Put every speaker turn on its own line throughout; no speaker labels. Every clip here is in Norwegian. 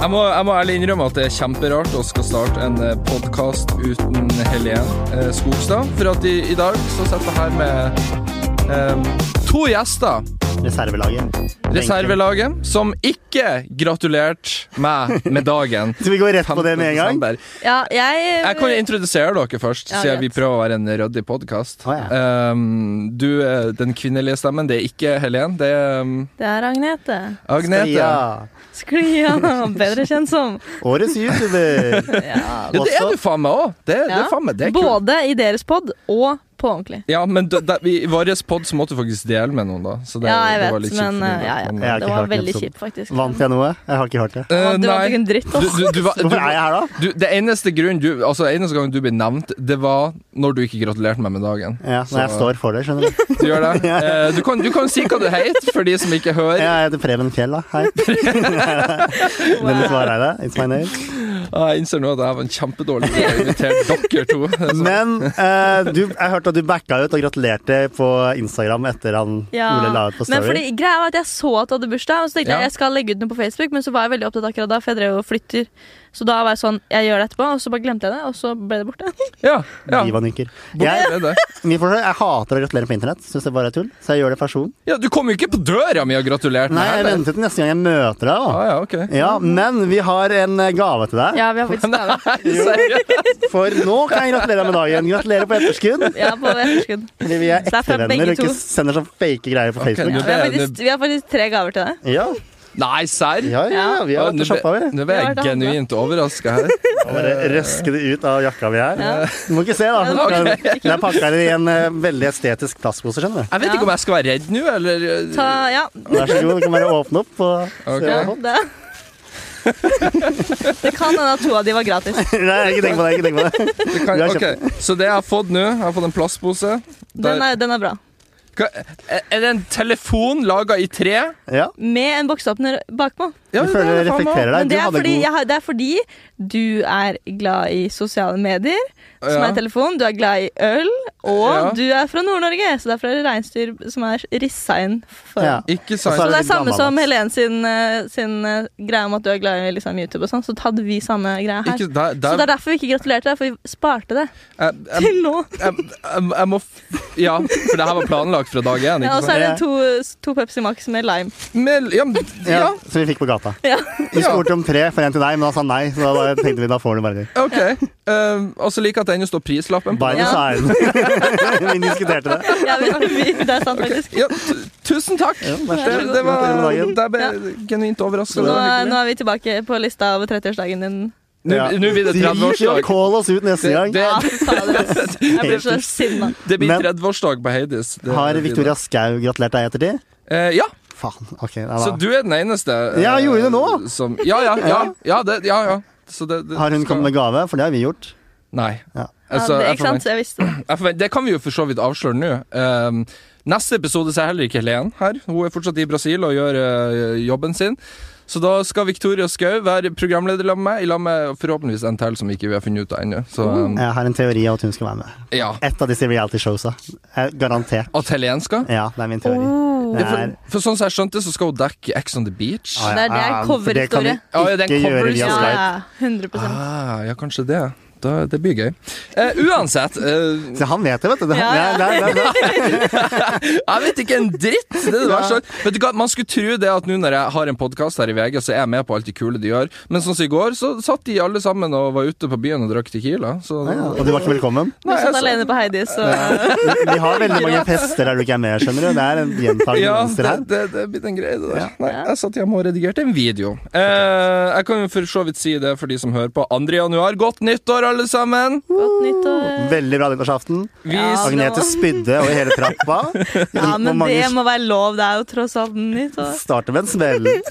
Jeg må, jeg må ærlig innrømme at det er kjemperart å skal starte en podkast uten Helen eh, Skogstad. For at i, i dag så sitter jeg her med eh, to gjester.
Reservelaget.
Reservelaget, som ikke gratulerte meg med dagen.
Skal vi gå rett på det med en
15.
gang?
desember.
Ja, jeg,
Jeg kan introdusere dere først,
Ja,
siden vi
greit.
prøver å være en ryddig podkast.
Å,
du er den kvinnelige stemmen. Det er ikke Helen, det er um,
Det er Agnete.
Agnete.
Ja.
Sklia. Bedre kjent som.
Årets YouTuber.
Ja.
Ja, det er du faen meg òg! Det, det, er faen meg- det er kult.
Både i deres pod og på ordentlig.
Ja, men da, da, i vår pod så måtte du faktisk dele med noen, da. Så det,
Ja, jeg
det var
vet,
litt
men
kjipt for
eh, ja,
din, da.
har
ja. Det
ikke
var
hørt
veldig
episoden.
kjipt, faktisk.
Vant jeg noe? Jeg har ikke hørt det.
Eh,
Ja, Du vant
nei.
ikke en dritt,
Du,
altså.
du, du, var- du,
Hvorfor er jeg her, da?
du, det eneste grunnen du, altså, eneste gang du ble nevnt, det var når du ikke gratulerte meg med dagen.
Ja,
Så-
Når jeg står for det, skjønner du.
Du gjør det? Eh, du, kan, du kan si hva du heter, for de som ikke hører.
Ja, jeg heter Preben Fjell, da. Hei. Dennis Vareide. It's my name.
Ah, Jeg innser nå at jeg var en kjempedårlig til å invitere dere to. Så-
Men eh, du, jeg hørte at du backa ut og gratulerte på Instagram etter han
Ja.
Ole la ut på
Men fordi,
Story.
greia var at jeg så at du hadde bursdag, og så tenkte
Ja.
jeg jeg skal legge ut noe på Facebook, men så var jeg veldig opptatt akkurat da, for jeg drev og flytter. Så da var jeg sånn, jeg gjør det etterpå, og så bare glemte jeg det, og så ble det borte.
Ja, ja.
Divanyker.
Det
Jeg,
er det.
min forskjell, jeg hater å gratulere på internett. Syns det bare er tull. Så jeg gjør det i person.
ja, du kom jo ikke på døra mi og gratulerte
Nei, jeg
meg. heller.
venter til neste gang jeg møter deg.
Ah,
Da.
ja, ok.
Ja, men vi har en eh, gave til deg.
Ja, vi har faktisk gave.
Seriøst?
For nå kan jeg gratulere deg med dagen. Gratulerer på etterskudd.
Ja, på etterskudd.
Fordi vi er
Så det er fra
ekte venner og
begge
ikke
to.
sender sånn fake greier på
Ok,
Facebook.
nå
Ja, vi, har
ble jeg-
faktisk, vi har faktisk tre gaver til deg.
Ja,
Nei, serr?
ja, ja,
Ja.
vi
Ja,
har vært
Nå
og shoppa, vi.
ble- nå ble jeg
Vi har vært og
genuint overraska her.
Og Bare røske det ut av jakka vi er.
Ja.
Du må ikke se, da.
Ja, du
for
må
Det
ikke-
er- det er pakka i en eh, veldig estetisk plastpose, skjønner du.
Jeg vet
Ja.
ikke om jeg skal være redd nå, eller eh,
Ta, ja,
Vær så god, du kan bare åpne opp og se
Ok.
hva
ja
du har fått.
det. det kan hende at to av de var gratis.
Nei, ikke tenk på det. ikke tenk på det
Det kan,
Du har
ok, Så det jeg har fått nå, jeg har fått en plastpose
Den er, den er bra.
Hva- Er er det en telefon laga i tre?
Ja,
Med en bokseåpner bakpå.
Ja,
Du
det
føler
er
du
faen meg.
reflekterer deg. Du
Men det er,
hadde
fordi,
god
jeg har, det er fordi du er glad i sosiale medier,
Ja.
som er telefon, du er glad i øl, og
Ja.
du er fra Nord-Norge, så derfor er det reinsdyr som er rissa inn for
ja.
Ikke
Og
Så
sant?
er
det
det
er samme
litt
som
gammeldags.
Helen sin, eh, sin eh, greie om at du er glad i liksom, YouTube og sånn, så hadde vi samme greia her.
Ikke, der,
Så det
der,
er derfor vi ikke gratulerte deg, for vi sparte det
jeg, jeg,
til nå.
jeg, jeg, jeg må f- Ja, for det her var planlagt fra dag én.
Ja,
Ikke
altså- og så
sant?
er det to, to Pepsi Max med lime.
Men, ja, men-
ja,
ja,
Som vi fikk på gata.
Ja.
Vi spurte om tre for en til deg, men han sa nei. Så da bare tenkte vi da får du bare det.
OK. Eh, og så liker jeg at det ennå står prislappen på.
By
Ja.
design. Vi diskuterte det.
Ja, vi, vi, det er sant, faktisk.
Ja, tu- tusen takk!
Ja, vær så
Det,
god.
det var
Gratulerer med dagen.
Der ble jeg genuint overraska.
Så eh, nå, er- nå er vi tilbake på lista over 30-årsdagen din.
Nå
Ja.
nå blir det
De gir
30-årsdag.
Call oss ut neste
Det-
gang.
det-
Ja, fy Ah, fader, ass. Jeg blir så sinna.
Det blir
Men-
30-årsdag på Heidis. Det-
Har
det blir
Victoria Skau gratulert deg etter det?
det. Eh, ja,
Faen. ok. Ja, da.
så du er den eneste. eh,
Ja, gjorde det nå?
Som, ja, ja, ja. ja, det, ja, ja. Så det, det,
Har hun kommet med gave? For det har vi gjort.
Nei.
Ja.
Ja,
Altså,
det,
jeg
ikke sant?
forventer-
Så jeg visste det.
jeg forventer- det kan vi jo for så vidt avsløre nå. Um, neste episode så er heller ikke Helen her. Hun er fortsatt i Brasil og gjør eh, jobben sin. Så da skal Victoria Skau være programleder sammen med meg, i lag med forhåpentligvis en til som ikke vi har funnet ut av ennå. Så um,
Jeg har en teori om at hun skal være med.
ja.
Et av disse reality-showsa. Eh, Garantert.
At Helen skal?
Ja, det er min teori. Det
Oh,
Ja,
er,
for, for sånn som jeg skjønte, så skal hun dekke Ex on the Beach.
Ah,
Nei, det er
ah, for det kan vi
coverhistorie.
Ja, ja, det er
ikke
en
gjøre via
Ja,
coverhistorie.
Skype.
ja, 100
Ah, ja, kanskje det. Da, det blir gøy. Eh, uansett eh,
Se, han vet det, vet du. Det,
Ja, ja.
det er- det er- det er-
Jeg vet ikke en dritt! Det er det verste. Vet du hva, Man skulle tro det at nå når jeg har en podkast her i VG, så er jeg med på alt det kule de gjør. Men sånn som i går, så satt de alle sammen og var ute på byen og drakk Tequila. Så
Ja, Og du var ikke velkommen.
Du satt alene på Heidis, og
Vi har veldig mange fester der du ikke er med, skjønner du. Det er en gjentagende
Ja,
mønster
det,
her.
det, det er blitt en greie, det der.
Ja.
Nei, jeg satt hjemme og redigerte en video. Eh, jeg kan jo for så vidt si det for de som hører på. 2. januar, godt nyttår, alle sammen!
godt nyttår.
Veldig bra nyttårsaften.
Vi
Ja.
s-
Agnete
nå-
spydde over hele trappa.
Altså- Ja,
Hvor
men det
mange
må være lov. Det er jo tross alt nyttår.
starter med en smell. Det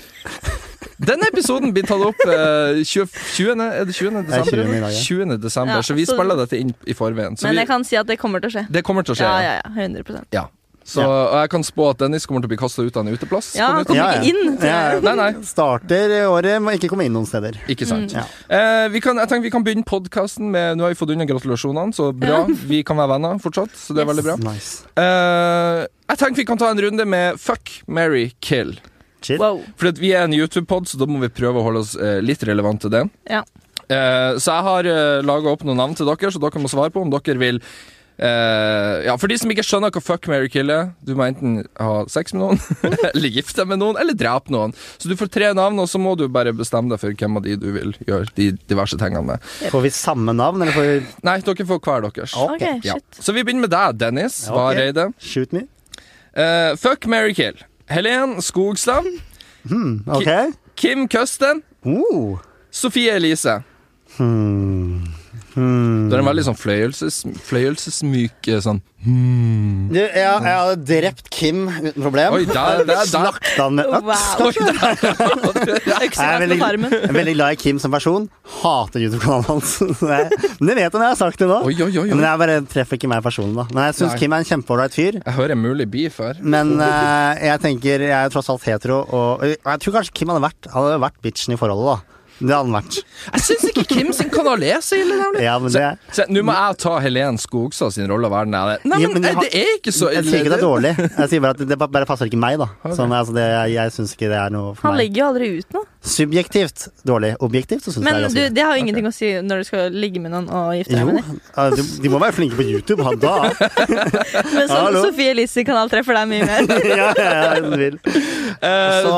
Denne episoden blir tatt opp eh, 20, 20. Er det 20.
er
desember?
20. i dag, ja.
20. desember,
Ja,
så vi
så-
spiller dette inn i forveien. Så
Men
vi,
jeg kan si at det kommer til å skje.
det kommer til å skje.
Ja,
ja.
ja, ja. 100
Ja. Så, og jeg kan spå at Dennis kommer til å bli kasta ut av en uteplass.
Ja,
på
han
nytt.
kommer
Ja, ja.
ikke inn. tror jeg.
Ja,
Nei, nei.
Starter året med å ikke komme inn noen steder.
Ikke
Mm.
sant.
Ja.
Eh, vi kan, jeg tenker vi kan begynne podkasten med Nå har vi fått unna gratulasjonene, så bra. Vi kan være venner fortsatt, så det er
Yes.
veldig bra.
Nice.
Eh, jeg tenker vi kan ta en runde med Fuck, Mary, Kill.
Chill.
Wow.
For at vi er en YouTube-pod, så da må vi prøve å holde oss eh, litt relevant til den.
Ja.
Eh, så jeg har eh, laga opp noen navn til dere, så dere må svare på om dere vil eh, Ja, for de som ikke skjønner hva fuck, marry, kill er, du må enten ha sex med noen, eller gifte deg med noen, eller drepe noen. Så du får tre navn, og så må du bare bestemme deg for hvem av de du vil gjøre de diverse tingene med.
Får vi samme navn, eller får vi
Nei, dere får hver deres.
Ok,
OK,
Ja.
shit.
Så vi begynner med deg, Dennis
Ja, ok.
Vareide.
Shoot me?
Eh, fuck, marry, kill. Helen Skogstad.
Hmm, ok.
Kim Køsten.
Oh.
Sofie Elise.
Hmm. Hmm.
Du har en veldig sånn fløyelses, fløyelsesmyk eh, sånn hmm.
Du, jeg, jeg hadde drept Kim uten problem.
Oi, der, der, der.
Slakta han med
Wow.
Oi, der.
Øksa
Jeg er
vært på
veldig-
tarmen.
Jeg er veldig glad i Kim som person. Hater YouTube-kanalen hans. Så jeg- Men det vet han, jeg har sagt det nå.
Oi, oi, oi,
Men
oi.
jeg bare treffer ikke meg personlig, da. Men jeg
Nei.
syns Kim er en kjempeålreit fyr.
Jeg hører en mulig beef her.
Men eh, jeg tenker, jeg er tross alt hetero, og, og jeg tror kanskje Kim hadde vært, hadde vært bitchen i forholdet, da. Det hadde han vært.
Jeg syns ikke Kim sin kanal er så ille, nemlig.
Ja, men det,
Se, Nå må jeg ta Helen Skogstad sin rolle og være den der. Nei,
Ja,
men
men jeg
eh,
har-
det er ikke så
jeg sier ikke det er dårlig. Jeg sier bare at det ba- bare passer ikke meg, da.
Ok.
Sånn, altså, det, jeg, jeg syns ikke det er noe for
Han
meg.
legger jo aldri ut noe.
Subjektivt dårlig. Objektivt så syns jeg det
Men
er
du,
ganske
det har jo ingenting å si når du skal ligge med noen og gifte deg
Jo,
med dem.
eh, de, de må være flinke på YouTube, han da.
Men sånn
Hallo?
Sofie Elise-kanal treffer deg mye mer.
ja, ja, ja, hvis du vil.
Eh,
Så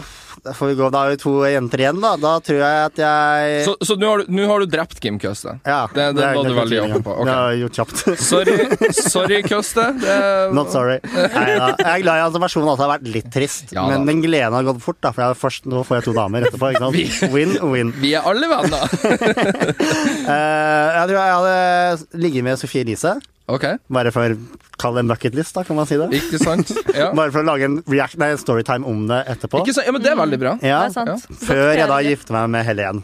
pff, da får vi gå. Da har vi to jenter igjen, da. Da tror jeg at jeg
Så, så nå har, du- nå har du drept Kim Køste.
ja,
det- det var du
kan
veldig
jeg
åpen på, ok.
Det har jeg gjort kjapt.
Sorry, sorry Køste. Det-
Not sorry. Nei, da. Jeg er glad i at versjonen også har vært litt trist,
Ja, da.
men den gleden har gått fort. da, For jeg, først, Nå får jeg to damer etterpå. ikke sant? Win, win.
Vi er alle venner.
Eh, jeg tror jeg hadde ligget med Sofie Elise,
Ok,
bare for Kall det en bucketlist, da, kan man si det.
ikke sant? Ja.
Bare for å lage en react, nei, en storytime om det etterpå.
Ikke sant? ja, men det er veldig bra.
Ja,
det er sant.
ja.
Så da
Før jeg da
prøver vi.
gifter meg med Helen.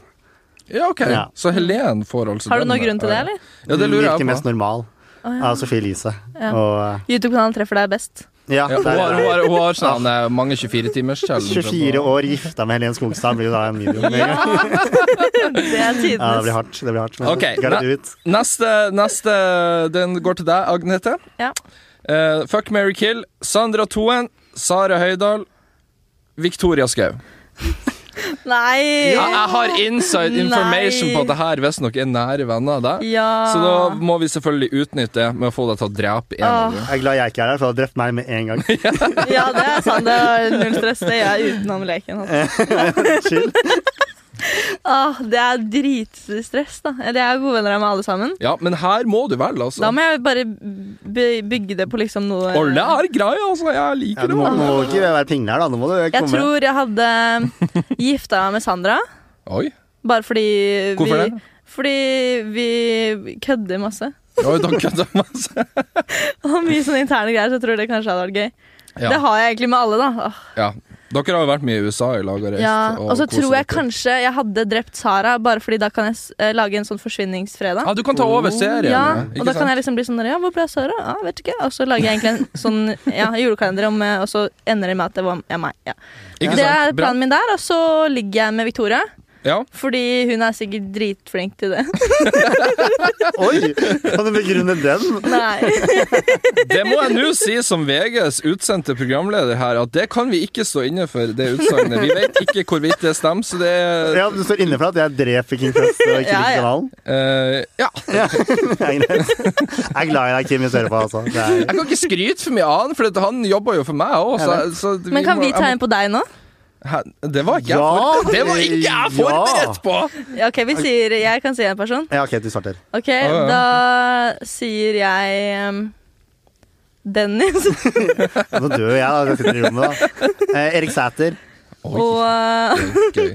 Ja, ok.
Ja.
Så Helen får altså
Har du
den,
noen grunn til det,
eh,
eller?
Ja, det lurer
Virker
jeg på.
mest normal.
Å, ja.
Av Sophie Elise.
Ja.
Og eh,
YouTube-kanalen treffer deg best.
ja,
Ja, hun
der
har,
er
hun
det.
har, hun har sånn eh, mange 24-timerskjellen.
24 år gifta med Helen Skogstad blir jo da en video. med en gang.
Det er
Ja, det blir
tidenes.
hardt. Det blir hardt. Men
Ok,
get
nei.
it ut.
Neste, neste, den går til deg, Agnete.
Ja.
Eh, fuck Mary Kill, Sandra Toen, Sara Høydahl, Victoria Skau.
Nei!
Jeg, jeg har inside information
Nei.
på at det her visstnok er nære venner av deg.
Ja.
Så da må vi selvfølgelig utnytte det med å få deg til å drepe en av
Åh.
dem.
Jeg er glad jeg ikke er her, for du har drept meg med en gang.
ja, det er sant. Det er null stress. Det gjør jeg utenom leken. Altså.
Chill.
Åh, det er dritstress, da. Eller jeg er gode venner med alle sammen.
Ja, men her må du vel, altså.
Da må jeg bare by- bygge det på liksom noe
Og det er greia, altså. Jeg
Ja,
liker
du
det.
må,
Morten.
må ikke være pingle her, da. Nå må du
Jeg
komme.
tror jeg hadde gifta meg med Sandra,
Oi.
bare fordi
Hvorfor
vi,
det?
Fordi vi kødder masse.
Oi, da kødder altså. jeg masse.
Og mye sånne interne greier, så jeg tror det kanskje hadde vært gøy. Det
Ja,
har jeg egentlig med alle, da. Åh.
ja. Dere har jo vært mye i USA i lag og reist.
Ja, og så
koset
tror jeg
dere.
kanskje jeg hadde drept Sara, bare fordi da kan jeg s- eh, lage en sånn forsvinningsfredag.
Ja, Du kan ta over serien.
Oh, Ja,
ikke
og da kan
sant?
jeg liksom bli sånn der, Ja, hvor ble jeg Sara? Ja, vet ikke. Og så lager jeg egentlig en sånn ja, julekalender, om, eh, og så ender det med at det var ja, meg. Ja.
Ikke
Det
sant?
er
Bra.
planen min der, og så ligger jeg med Victoria.
Ja.
Fordi hun er sikkert dritflink til det.
Oi! Kan du begrunne den?
Nei.
Det må jeg nå si som VGs utsendte programleder her, at det kan vi ikke stå inne for, det utsagnet. Vi vet ikke hvorvidt det stemmer, så det er
Ja, Du står inne for at jeg dreper King Fest og ikke
Ja, ja.
liker kanalen?
eh, Ja.
Det er greit. Jeg er glad i deg, Kim, hvis du hører på. Altså. Det er
Jeg kan ikke skryte for mye annet, for at han jobber jo for meg òg. Så, så
Men kan vi ta en på deg nå?
Hæ? Det var ikke jeg,
Ja,
forberedt- det var ikke jeg forberedt på!
Ja, OK, vi sier Jeg kan si en person.
Ja, OK, du starter.
OK,
ja.
da sier jeg em, Dennis
Nå dør jeg, da. Jeg sitter i rommet, da. Eh, Erik Sæter.
og
Oi, gøy.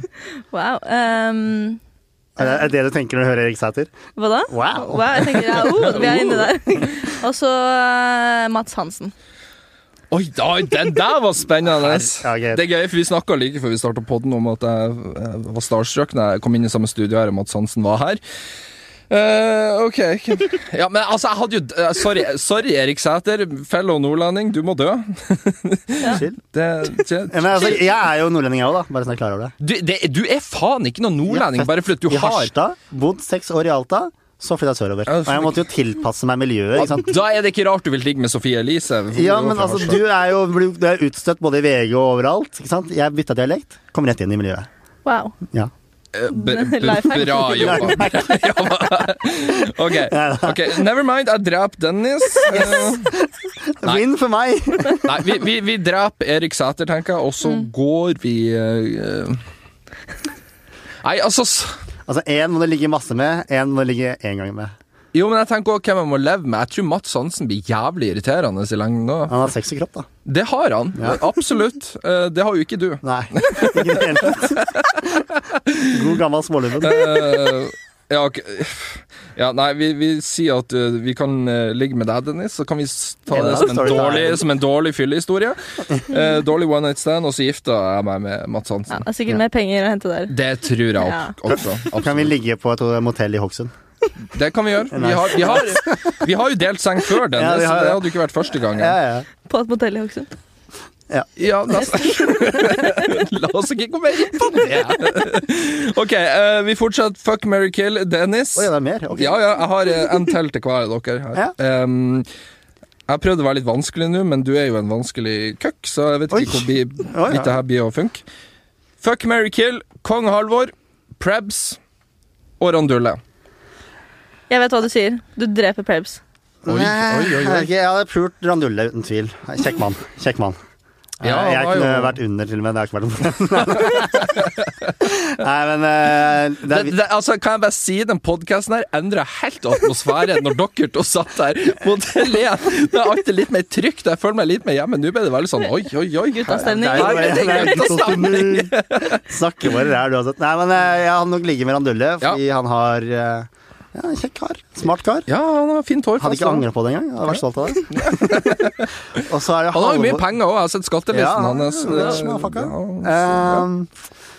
Wow. em,
Er det- Er det du tenker når du hører Erik Sæter?
hva da?
Wow.
Wow, jeg tenker, ja, oh, vi er inne der. Og så eh, Mats Hansen.
Oi, da, den der var spennende!
Ja, ok.
Det er gøy, for vi snakka like før vi starta podden om at jeg eh, var starstruck når jeg kom inn i samme studio her, og Mads Hansen var her. Eh, ok. Ja, men altså, jeg hadde jo eh, Sorry, sorry Erik Sæter, fellow nordlending, du må dø.
Chill.
Det, det,
Ja, Men altså, jeg er jo nordlending, jeg òg, da. Bare så jeg er klar over det.
du, det, du er faen ikke noen nordlending, bare fordi at du
I
har
Harstad. Bodd seks år i Alta. så flytta jeg sørover.
Ja,
Og jeg måtte jo tilpasse meg miljøet. Ikke sant?
Da er det ikke rart du vil ligge med Sofie Elise. Hun
Ja,
er jo
men
fra
altså,
Harstad.
du er jo blir- du er utstøtt både i VG og overalt. Ikke sant? Jeg bytta dialekt, kom rett inn i miljøet.
Wow.
Ja.
Eh, b- b-
Lifehack.
Bra jobba. Ja, hva- ok, ok, never mind. Jeg dreper Dennis. Eh, Nei.
Win for meg!
Nei, vi, vi, vi dreper Erik Sæter, tenker jeg, og så
Mm.
går vi eh, eh. Nei, altså s-
Altså, én må det ligge masse med, én må det ligge én gang med.
Jo, men jeg tenker også hvem jeg må leve med. Jeg tror Mats Hansen blir jævlig irriterende i lengden òg.
Han har sexy kropp, da.
Det har han. Absolutt. Eh, Det har jo ikke du.
Nei, ikke i det hele tatt. God gammel smålubben.
Eh, ja, ok. ja, nei, vi, vi sier at eh, vi kan eh, ligge med deg, Dennis, så kan vi s- ta
Ja,
det
da
som en
står det der.
dårlig, som en dårlig fyllehistorie. Eh, dårlig one night stand, og så gifter jeg meg med Mats
Ja,
Hansen.
det er sikkert mer penger å hente der.
Det tror jeg
Ja.
opp, også.
Kan vi
Absolutt.
ligge på et motell i Hokksund?
Det kan vi gjøre. Vi har, vi har, vi har jo delt seng før, Dennis,
Ja,
så
vi har
det
det.
hadde jo ikke vært første gangen.
Ja, ja.
På et motell i Hokksund.
Ja, la oss, la oss ikke gå mer inn på det. OK, eh, vi fortsetter Fuck, marry, kill. Dennis.
Oi, det er mer? Ok.
Ja, ja, jeg har eh, en til til hver av dere her. Um, jeg prøvde å være litt vanskelig nå, men du er jo en vanskelig køkk, så jeg vet
Oi.
ikke hvor bi-
Oi,
vidt det
ja.
her blir å funke. Fuck, marry, kill, kong Halvor, Prebz og Randulle.
Jeg vet hva du sier. Du dreper Prebz.
Oi, oi,
Nei,
oi, oi.
jeg vet ikke, Jeg hadde pult Randulle, uten tvil. Kjekk mann. Kjekk mann.
Ja,
Eh, jeg
han
kunne
var
vært under, til og med. Det har ikke vært noe problem. Nei, men eh, det
Det,
er,
det, altså, kan jeg bare si den podkasten her endrer helt atmosfære når dere to satt der mot Helen. Det er alltid litt mer trygt. Jeg føler meg litt mer hjemme. Nå ble det veldig sånn oi, oi, oi.
Guttastemning.
det er jo bare- det er jo ikke sånn du snakker bare der, du har sett. Nei, men eh, jeg hadde nok ligget med Randulle, fordi han har eh, ja, en kjekk kar. Smart kar.
Ja, han har fint hår. altså.
Hadde ikke
forresten.
angra på det engang. Jeg Hadde vært stolt av det. Og så er det
Han har jo mye
Halvor-
penger òg. Jeg har sett skattelisten
Ja,
hans. eh,
det er småfakka.
Ja,
Ehm,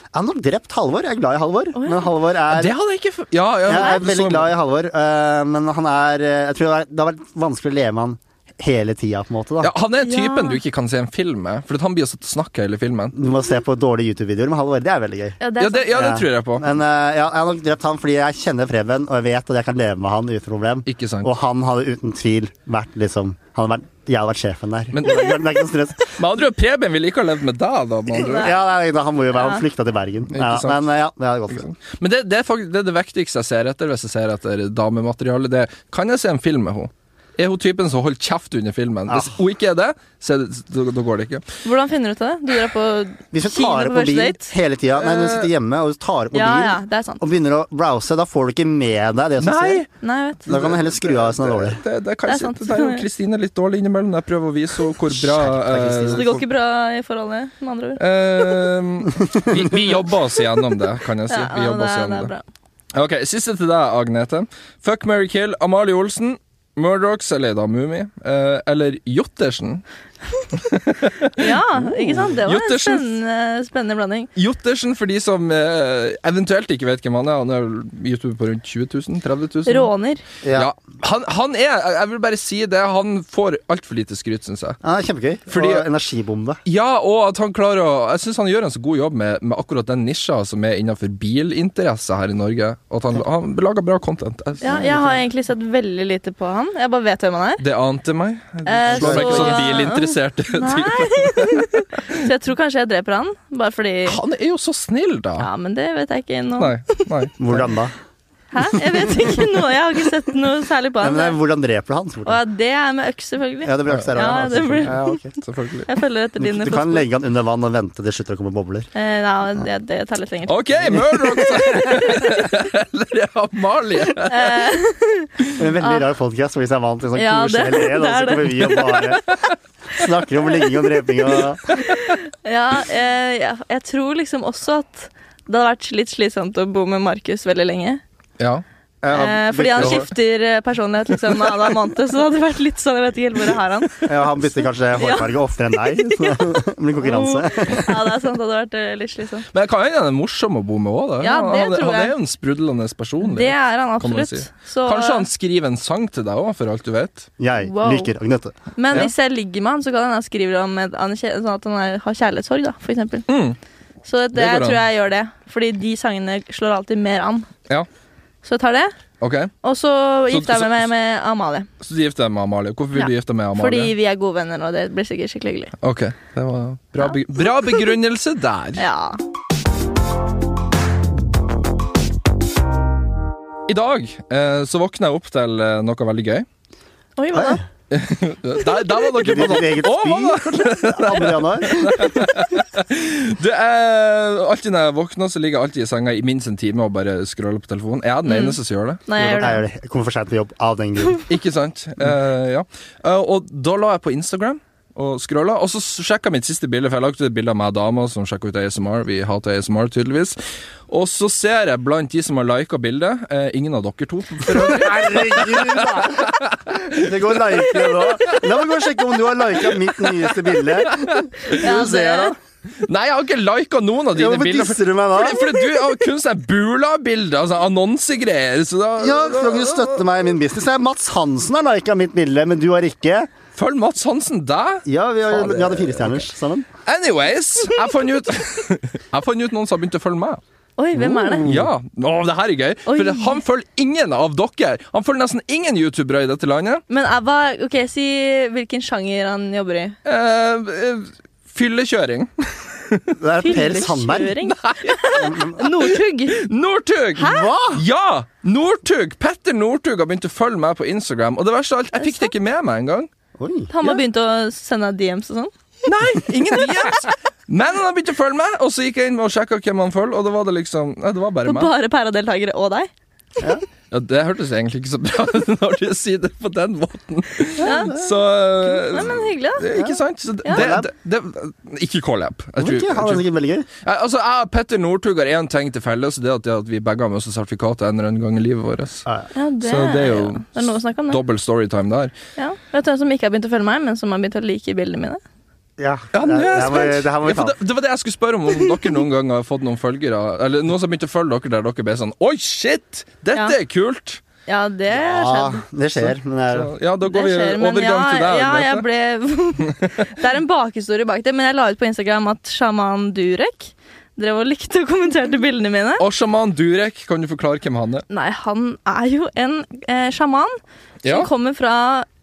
Jeg har nok drept Halvor. Jeg er glad i Halvor.
Å, ja.
Men Halvor er
det hadde jeg ikke f- Ja, ja,
Eh, Jeg er
så-
veldig glad i Halvor, eh, men han er eh, Jeg tror det har- det har vært vanskelig å leve med han hele tida, på en måte.
ja,
da
Han er typen
Ja.
du ikke kan se en film med, for at han blir å snakke hele filmen.
Du må se på dårlige YouTube-videoer med Halvor. Det er veldig gøy.
Ja,
Ja,
det er sant.
det, ja, det
Ja.
tror jeg på.
Men eh, ja, jeg har nok drept han fordi jeg kjenner Preben, og jeg vet at jeg kan leve med han uten problem.
Ikke sant.
Og han hadde uten tvil vært liksom han hadde vært, Jeg hadde vært sjefen der.
Men-
det er ikke- det er ikke noe stress.
Med andre ord, Preben ville ikke ha levd med deg, da. Med andre. ord.
Ja, nei, da, han må jo være
Ja.
Han flykta til Bergen.
Ikke
Ja,
sant.
men eh, ja, det hadde gått.
Men det, det, er faktisk, det er det viktigste jeg ser etter hvis jeg ser etter damemateriale. Det er, kan jeg se en film med henne? Er hun typen som holder kjeft under filmen? Hvis
Ah.
hun ikke er det, så er det, da, da går det ikke.
Hvordan finner du ut av det? Du drar på
Hvis hun
Kino
tar
på
opp
første
mobilen
date? Uh,
hele tida Nei, hun sitter hjemme og tar opp
Ja,
mobilen
ja, det er sant.
og begynner å browse, da får du ikke med deg det som
Nei!
skjer.
Nei, jeg vet.
Da kan du heller skru av hvis den er dårlig.
Det, det, kan
Det er
jeg si.
sant.
Der er jo Kristine litt dårlig innimellom. Jeg prøver å vise henne hvor bra
Skjerp deg,
eh,
Så det går ikke bra i forholdet, med andre ord?
Ehm, vi, vi jobber oss gjennom det, kan jeg si.
Ja,
vi
ja,
jobber
det,
oss
er, det
gjennom
er
det.
bra.
Ok, Siste til deg, Agnete. Fuck, marry, kill Amalie Olsen, Murdochs, eller da Mummi, eh, eller Jottersen.
Ja, ikke sant? Det var en
Jottersen.
spennende, spennende blanding.
Jottersen for de som eh, eventuelt ikke vet hvem han er. Han er vel YouTube på rundt 20 000? 30 000?
Råner.
Ja.
Ja.
Han, han er Jeg vil bare si det. Han får altfor lite skryt, syns jeg.
Ja, det er kjempegøy.
Fordi-
Og energibombe.
Ja, og at han klarer å Jeg syns han gjør en så god jobb med, med akkurat den nisja som er innenfor bilinteresse her i Norge. Og at han, han lager bra content. Jeg,
Ja, jeg har egentlig sett veldig lite på han. Jeg bare vet hvem han er.
Det ante meg. Du
Eh,
slår meg ikke
så-
sånn bilinteressert ut.
Nei! Så jeg tror kanskje jeg dreper han, bare fordi
Han er jo så snill, da.
Ja, men det vet jeg ikke nå.
Nei, nei.
Hvordan da?
Hæ? Jeg vet ikke noe. Jeg har ikke sett noe særlig på
Ja,
han.
men det er, hvordan dreper du han?
Og
spurte
ja,
jeg.
det er med øks, selvfølgelig.
Ja, det blir akkurat
Ja, det blir-
ja, ok.
Selvfølgelig.
Jeg følger etter dine
Du kan
fotspor.
legge han under vann og vente til det slutter å komme bobler.
Eh, nei, det, det tar litt lenger.
OK, Murdoch! Eller Amalie.
Eh,
En veldig rar podkast hvis jeg er vant til sånn
Ja, det-
koselig led, og
det
så
er det.
kommer vi og bare snakker om ligging og dreping og
Ja, eh, jeg, jeg tror liksom også at det hadde vært litt slitsomt å bo med Markus veldig lenge.
Ja.
Eh, fordi han
bytter-
skifter eh, personlighet liksom annenhver måned, så det hadde vært litt sånn Jeg vet ikke helt hvor jeg har han.
ja, Han bytter kanskje hårfarge oftere enn deg, så det blir konkurranse.
Ja, det er sant, det hadde vært eh, litt slitsomt.
Men kan hende han er morsom å bo med òg, da.
Ja, det
han,
tror
han
jeg.
er jo en sprudlende personlighet.
Det er han
kan man
absolutt.
si.
Så,
Kanskje han skriver en sang til deg òg, for alt du vet.
Jeg
Wow.
liker Agnete.
Men
Ja.
hvis jeg ligger med han, så kan hende jeg skriver om et, han er kjæ- sånn at han er, har kjærlighetssorg, da, for eksempel.
Mm.
Så det,
Det går
jeg
an.
tror jeg gjør det. Fordi de sangene slår alltid mer an.
Ja.
Så jeg tar det.
Ok,
Og så
Så-
gifter jeg
så-
meg med, med Amalie.
Så du gifter deg med Amalie. Hvorfor vil
Ja.
du gifte deg med Amalie?
Fordi vi er gode venner, og det blir sikkert skikkelig hyggelig.
Ok, det var bra, be bra begrunnelse der.
Ja.
I dag eh, så våkna jeg opp til eh, noe veldig gøy.
Oi, hva da?
Der, der var dere på
Ditt
sånn.
eget
Å, hva da?
spy? 2. januar?
Du, eh, alltid når jeg våkner, så ligger jeg alltid i senga i minst en time og bare scroller på telefonen. Jeg er
Mm.
den eneste som gjør det.
Nei, jeg
Jeg,
gjør det.
gjør det. jeg kommer for seint til jobb av den grunn.
Ikke sant?
Mm.
Eh, ja. Eh, og da la jeg på Instagram og scrolla, og så sjekka mitt siste bilde, for jeg lagde et bilde av meg og dama som sjekka ut ASMR. Vi hater ASMR, tydeligvis. Og så ser jeg blant de som har lika bildet eh, Ingen av dere to, for øvrig.
Herregud, da! Det går like nå. La meg gå og sjekke om du har lika mitt nyeste bilde.
Ja,
Du ser da.
Nei, jeg har ikke lika noen av
Ja,
dine
Hvorfor
bilder. For,
disser du meg da?
fordi, fordi du har kun sånn Bula-bilder, altså annonsegreier. Så da,
Ja, Frogner støtter meg i min business. Nei, Mats Hansen har lika mitt bilde, men du har ikke.
Følg Mats Hansen deg.
Ja, vi, har,
Fader.
vi hadde firestjerners sammen.
Anyways, jeg fant ut Jeg fant ut noen som har begynt å følge meg.
Oi, hvem er det?
Mm.
Ja, Å, det her er gøy. For
Mm. Oi.
han følger ingen av dere. Han følger nesten ingen youtubere i dette landet.
Men jeg var, ok, Si hvilken sjanger han jobber i.
Eh, eh, fyllekjøring.
Det er Per Sandberg.
Fyllekjøring? Northug?
Northug!
Hva?
Ja! Northug! Petter Northug har begynt å følge meg på Instagram. Og det verste av alt, jeg fikk det ikke med meg engang.
Oi.
Han har begynt å sende DMs og sånn?
Nei, ingen DMs. Men han har begynt å følge meg, og så gikk jeg inn og sjekka hvem han følger, og da var det liksom Nei, det var bare
Og
meg.
bare pæradeltakere og deg?
Ja, det hørtes egentlig ikke så bra ut når du sier det på den måten. Så
Nei, men hyggelig, da.
Det, ikke sant? Så det,
Ja.
det, det, det, ikke collab. Jeg tror,
Hvorfor ikke?
jeg
Han
tror.
er sikkert veldig gøy.
Jeg, altså, jeg og Petter Northug har én ting til felles, og det er at, det er at vi begge har med oss sertifikat en eller annen gang i livet vårt.
Ja, ja.
Ja, det,
Så det er jo
Det er noe å snakke om, det.
Dobbel storytime der.
Ja. Vet du hvem som ikke har begynt å følge meg, men som har begynt å like bildene mine?
Ja,
Ja,
det,
nå er jeg
her må vi-
spent.
det her må
Ja,
vi
for
ta.
det, det var det jeg skulle spørre om, om dere noen gang har fått noen følgere Eller noen som begynte å følge dere der dere ble sånn Oi, shit! Dette
Ja.
er kult!
Ja, det har
Ja,
skjedd.
det skjer, men det er
Så, ja, da
Det
går vi
skjer, men
overgang
ja,
til deg.
Ja, jeg
Agnete.
ble Det er en bakhistorie bak det, men jeg la ut på Instagram at sjaman Durek drev og likte og kommenterte bildene mine.
Og sjaman Durek, kan du forklare hvem han er?
Nei, han er jo en eh, sjaman
Ja.
som kommer fra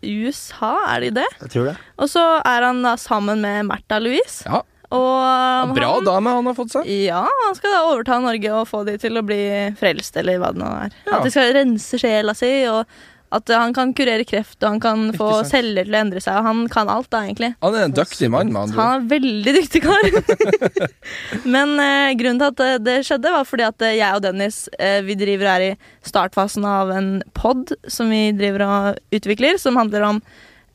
USA, er det det?
Jeg tror det.
Og så er han da sammen med Märtha Louise.
Ja,
Og um,
Bra
han,
dame han har fått seg.
Ja, han skal da overta Norge og få de til å bli frelst, eller hva det nå er.
Ja.
At de skal rense sjela si, og at han kan kurere kreft, og han kan få
sant.
celler til å endre seg, og han kan alt da, egentlig.
Han er en dyktig mann, med andre ord.
Han er en veldig dyktig kar. Men eh, grunnen til at eh, det skjedde, var fordi at eh, jeg og Dennis eh, vi driver her i startfasen av en pod som vi driver og utvikler, som handler om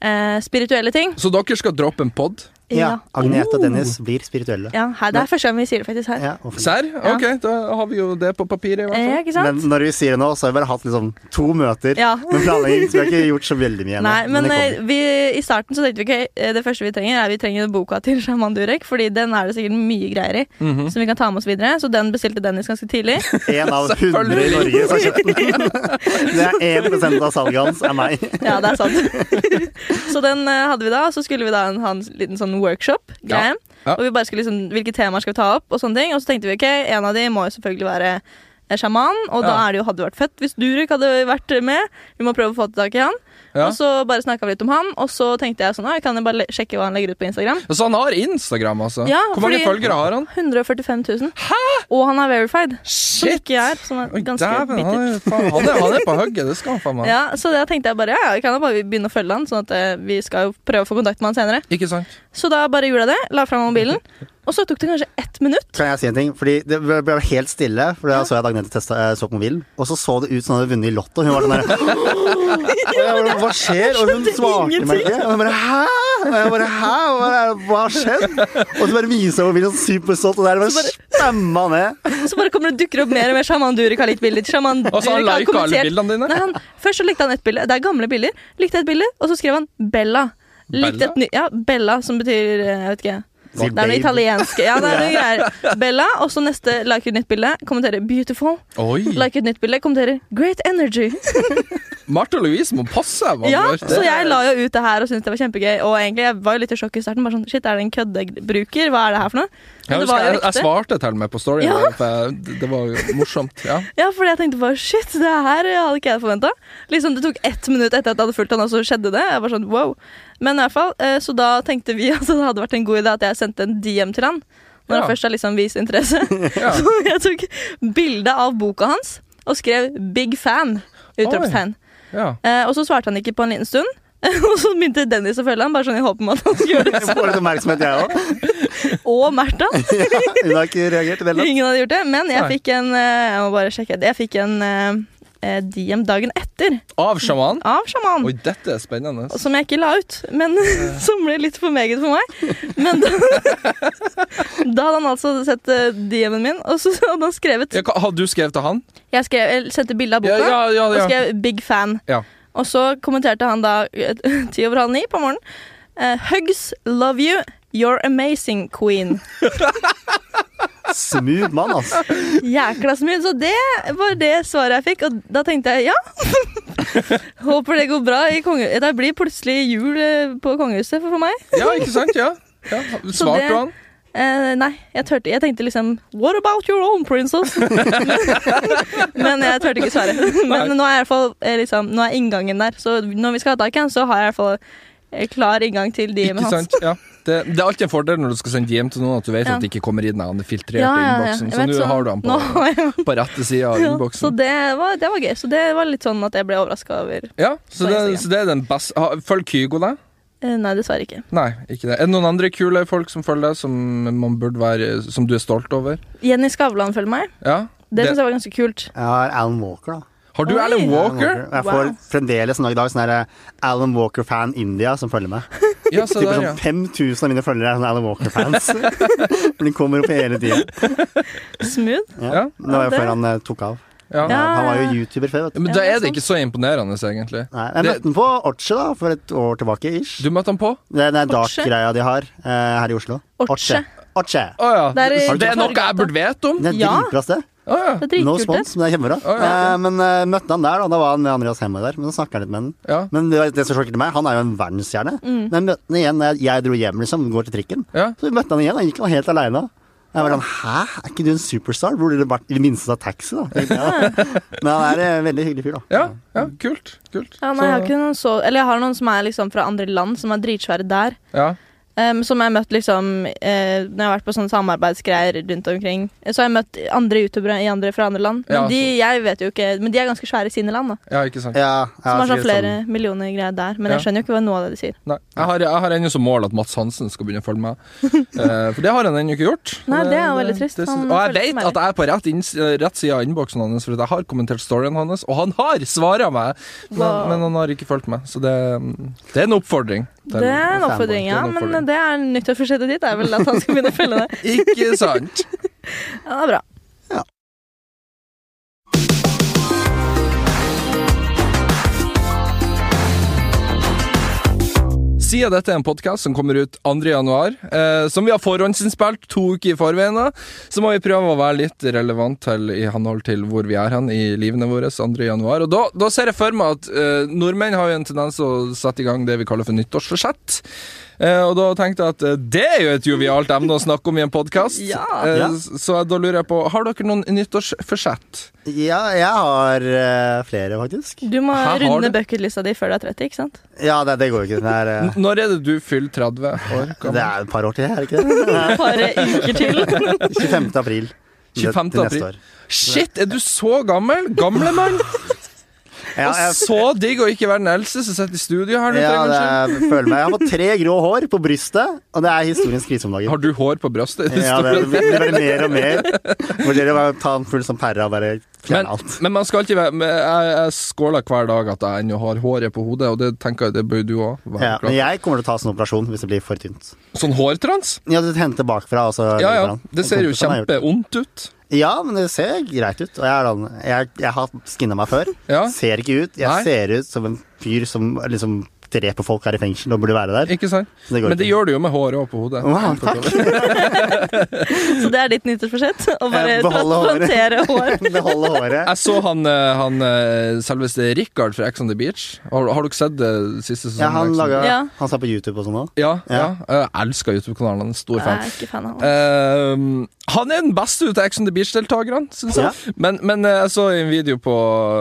eh, spirituelle ting.
Så dere skal droppe en pod?
Ja, Agnete og Dennis blir spirituelle.
Ja, her, Det er første gang vi sier det faktisk her.
Ja, og fint.
Serr? Ok, da har vi jo det på papiret, i hvert
Eh,
fall.
ikke
Men
sant?
når vi sier det nå, så har vi bare hatt liksom to møter
Ja.
med planlegging. Så vi har ikke gjort så veldig mye ennå.
Nei, men
det
eh,
kommer.
vi, i starten så tenkte vi ikke eh, det første vi trenger, er vi trenger boka til Shaman Durek, fordi den er det sikkert mye greier i
Mhm.
som vi kan ta med oss videre. Så den bestilte Dennis ganske tidlig.
En av hundre
Selvfølgelig.
i Norge som har kjøpt den. Det er 1 av salget hans er meg.
Ja, det er sant. så den eh, hadde vi da, og så skulle vi da en- ha en liten sånn workshop-greie.
Ja.
Og vi bare skulle liksom, Hvilke temaer skal vi ta opp, og sånne ting. Og så tenkte vi ok, en av de må jo selvfølgelig være eh, sjaman, og da
Ja.
er det jo hadde vært fett hvis Durek hadde vært med. Vi må prøve å få tak i han.
Ja.
Og så bare snakka vi litt om han, og så tenkte jeg sånn, «Å, jeg kan jo bare le- sjekke hva han legger ut på Instagram.
Så han har Instagram, altså?
Ja,
Hvor mange
fordi-
følgere har han?
145 000. Og han er verified. Som
Shit!
ikke jeg er, som er
Oi,
ganske
dæven, han,
bitter.
er, faen, han, er, han er på hugget, det skal han faen meg.
Ja, så da tenkte jeg bare ja, ja, vi kan jo bare begynne å følge han, sånn at eh, vi skal jo prøve å få kontakt med han senere.
Ikke sant?
Så da bare gjorde jeg det, la fram mobilen, og så tok det kanskje ett minutt.
Kan jeg si en ting? Fordi Det ble ble helt stille, for da så jeg at Agnete testa, eh, så på mobilen. Og så så det ut som hun hadde vunnet i Lotto. Hun var sånn der Og jeg bare, Hva skjer? Og hun svarte meg ikke. Og jeg bare Hæ? Og jeg bare Hæ? Hva er- Hva har skjedd? Og så bare viser hun mobilen sånn superstolt, og der bare spamma ned.
Så bare kommer det dukker opp mer og mer Shaman Durek har likt bilder. Shaman
Og så har han
Durek har
liket alle
kommentert-
bildene dine?
Nei, han, først så likte han et bilde, det er gamle bilder, likte et bilde, og så skrev han Bella. Likte
Bella?
et ny, ja, Bella, som betyr eh, Jeg vet ikke.
Sier
Det er noe
babe.
italiensk. Ja, det er noe greier. Bella, og så neste like ut nytt bilde, kommenterer 'beautiful'.
Oi!
Like et nytt bilde, kommenterer 'great energy'.
Martha Louise må passe seg. hva
Ja,
hun gjør.
så jeg la jo ut det her og syntes det var kjempegøy. Og egentlig, jeg var jo litt i sjokk i starten. Bare sånn, shit, er det en køddebruker? Hva er det her for noe?
Jeg,
Men
husker,
det var jo
jeg, jeg
ekte.
svarte til og med på storyen.
Ja.
der, for jeg- Det, det var jo morsomt. Ja.
Ja, fordi jeg tenkte bare shit, det her hadde ikke jeg forventa. Liksom, det tok ett minutt etter at jeg hadde fulgt han, og så skjedde det. Jeg var sånn, wow. Men i hvert fall, eh, Så da tenkte vi at det hadde vært en god idé at jeg sendte en DM til han. Når
Ja.
han først har liksom vist interesse.
Ja.
Så jeg tok bilde av boka hans og skrev 'big fan'. Utropstegn.
Ja.
Eh, og så svarte han ikke på en liten stund. Og så begynte Dennis å følge han, bare sånn i håp om at han skulle gjøre det.
Jeg får litt oppmerksomhet, jeg òg.
Og Märtha.
Hun har ikke reagert. Vel, da.
Ingen hadde gjort det. Men jeg
Nei.
fikk en eh, Jeg må bare sjekke. Jeg fikk en eh, DM dagen etter
Av sjaman.
av sjaman.
Oi, Eh. dette er spennende.
Som jeg ikke la ut, men som ble litt for meget for meg. Men da, da hadde han altså sett eh, DM-en min, og så hadde han skrevet
Ja, hva- har du skrevet til han?
Jeg, skrev, jeg sendte bilde av boka
ja, ja,
og skrev 'big fan'.
Ja.
Og så kommenterte han da eh, ti over halv ni på morgenen. eh, 'Hugs, love you, you're amazing, queen'.
Smooth mann, altså.
Jækla smooth. Så det var det svaret jeg fikk, og da tenkte jeg ja. Håper det går bra i kongehuset. Det blir plutselig jul eh, på kongehuset for for meg.
Ja, ikke sant? Ja. ja. Svarte
det-
du han?
Eh, nei, jeg, tørte, jeg tenkte liksom What about your own princess? Men jeg turte ikke svare. Men
Nei.
nå er, i hvert fall, eh, liksom, nå er inngangen der, så når vi skal ha tak i han, så har jeg i hvert fall eh, klar inngang til de med
Ikke
hans.
sant? Ja. Det, det er alltid en fordel når du skal sende DM til noen, at du vet
Ja.
at det ikke kommer inn den filtrerte
Ja, ja, ja.
innboksen.
Jeg
Så
vet
nå
så-
har du han
Nå
på,
har jeg han.
på rette sida av
Ja, så
innboksen.
det var, det var gøy. Så det var litt sånn at jeg ble overraska over
Ja, så
på
det,
Instagram.
så det er den beste ha- Følg Kygo deg?
eh, Nei, dessverre ikke.
Nei, ikke det. Er det noen andre kule folk som følger deg, som man burde være Som du er stolt over?
Jenny Skavlan følger meg.
Ja?
Det
Det-
syns jeg var ganske kult.
Jeg har Alan Walker, da.
Har du
Oi.
Alan Walker?
Jeg får
Wow.
fremdeles en dag i dag sånn der eh, Alan Walker-fan India som følger meg.
Ja, se
Typer
der, ja.
sånn 5000 av mine følgere er sånne Alan Walker-fans. De kommer opp hele tida.
Smooth.
Ja.
Ja. Det var
Ja,
jo
det-
før han eh, tok av.
Ja.
Ja.
Han var jo YouTuber før, vet du.
Men
Ja,
da
det er
er det
sant.
ikke så imponerende, egentlig.
Nei, jeg
Det-
møtte han på Orche da, for et år tilbake. ish
Du møtte han på?
Det er den
Orche?
dark-greia de har eh, her i Oslo.
Orche.
Orche.
Å ja.
Det er i
Så det er noe
Torggata.
jeg burde vite om?
Det er
Ja.
dritbra sted.
Å ja.
Det er
No
dritkult. det.
spons, men det er kjempebra.
Å, ja, ok.
Eh, men eh, møtte han der, da. Da var han med Andreas Hemma der. Men så snakka jeg litt med han.
Ja.
Men det, det som sjokkerte meg, han er jo en verdensstjerne.
Mm.
Men jeg møtte han igjen da jeg, jeg dro hjem, liksom. Går til trikken.
Ja.
Så vi møtte han igjen, han gikk han helt aleine. Jeg var sånn, Hæ, er ikke du en superstar? Burde du vært i det minste tatt taxi, da? tenkte jeg da. Men han er en veldig hyggelig fyr, da.
Ja, ja, kult. kult.
Ja, nei, jeg, har
Så-
ikke noen så, eller jeg har noen som er liksom fra andre land, som er dritsvære der.
ja.
Em, som jeg har møtt liksom eh, Når jeg har vært på sånne samarbeidsgreier rundt omkring. Så har jeg møtt andre youtubere i andre, fra andre land. Men,
Ja,
de, jeg vet jo ikke, men de er ganske svære i sine land. da
ja, ikke sant.
Ja, jeg
Som har sånn
sikkert
flere millioner greier der. Men
Ja.
jeg skjønner jo ikke hva noe av det de sier.
Nei. Jeg har, jeg har ennå som mål at Mats Hansen skal begynne å følge meg. Eh, for det har han ennå ikke gjort.
Nei, det er jo
Det-
veldig trist.
det syns-
Han
og jeg
følger ikke
vet
med.
at jeg er på rett, inns, rett side av innboksen hans, for at jeg har kommentert storyen hans, og han har svara meg! Men,
Wow.
men han har ikke fulgt meg, så det, mm, det er en oppfordring.
Det er en
fanboy,
oppfordring, ja.
det er en oppfordring.
Men det er nyttårsforsettet ditt er vel at han skal begynne å følge det.
Ikke sant?
Ja, det er bra.
Siden dette er en podkast som kommer ut 2. januar, eh, som vi har forhåndsinnspilt to uker i forveien, da, så må vi prøve å være litt relevant til, i henhold til hvor vi er hen i livene våre 2. januar. Og da, da ser jeg for meg at eh, nordmenn har jo en tendens til å sette i gang det vi kaller for nyttårsforsett. Eh, og da tenkte jeg at eh, det er jo et jovialt emne å snakke om i en podkast.
Ja.
Eh,
Ja.
så da lurer jeg på, har dere noen nyttårsforsett?
sånn- Ja, jeg har eh, flere, faktisk.
Du må
Her har
runde
du-
bucketlista di før du er 30, ikke sant?
Ja, det, det går jo ikke. Det er, eh,
N- Når er det du fyller 30 år?
det
gammel?
er et par år til, er det ikke det?
Et par uker til.
25. april.
25. april.
Til neste år.
Shit, er du så gammel? Gamlemann?
Ja,
Og
jeg,
så digg å ikke være den eldste som sitter i studio her. nå,
ja,
for en gangs
det er, føler meg. Jeg har fått tre grå hår på brystet, og det er historiens krise om
skyld.
dagen.
Har du hår på brystet?
Ja, det blir bare mer og mer. Hvor dere bare ta en full sånn perre og bare
men,
fjerne alt.
men man skal alltid være men Jeg, jeg skåler hver dag at jeg ennå har håret på hodet, og det tenker jeg det bør du òg være.
Ja,
klar
men
over.
jeg kommer til å ta sånn operasjon hvis det blir for tynt.
Sånn hårtrans?
Ja, du henter bakfra, og så
Ja ja,
legger du den.
det ser jo
Kompisene har gjort det.
kjempevondt ut.
Ja, men det ser greit ut. Og jeg, er sånn- jeg, jeg har skinna meg før.
Ja.
Ser ikke ut. Jeg
Nei.
ser ut som en fyr som liksom dreper folk her i fengsel og burde være der.
Ikke sant?
Så det går
Men det
ikke.
gjør du jo med håret og på hodet.
Wow, takk.
Så det er ditt nyttårsforsett? Å bare
Eh, beholde håret.
transplantere hår?
Beholde håret.
Jeg så han, eh, han eh, selveste Richard fra Ex on the Beach. Har, har dere sett eh, siste sesong?
Ja, han laga
Ja.
Han sa på YouTube og sånn òg.
Ja, ja.
Ja.
Jeg elsker YouTube-kanalen. han er en Stor
Jeg
fan.
er ikke fan av han.
Eh, han er den beste ut av Ex on the Beach-deltakerne, syns jeg. Men, men eh, jeg så en video på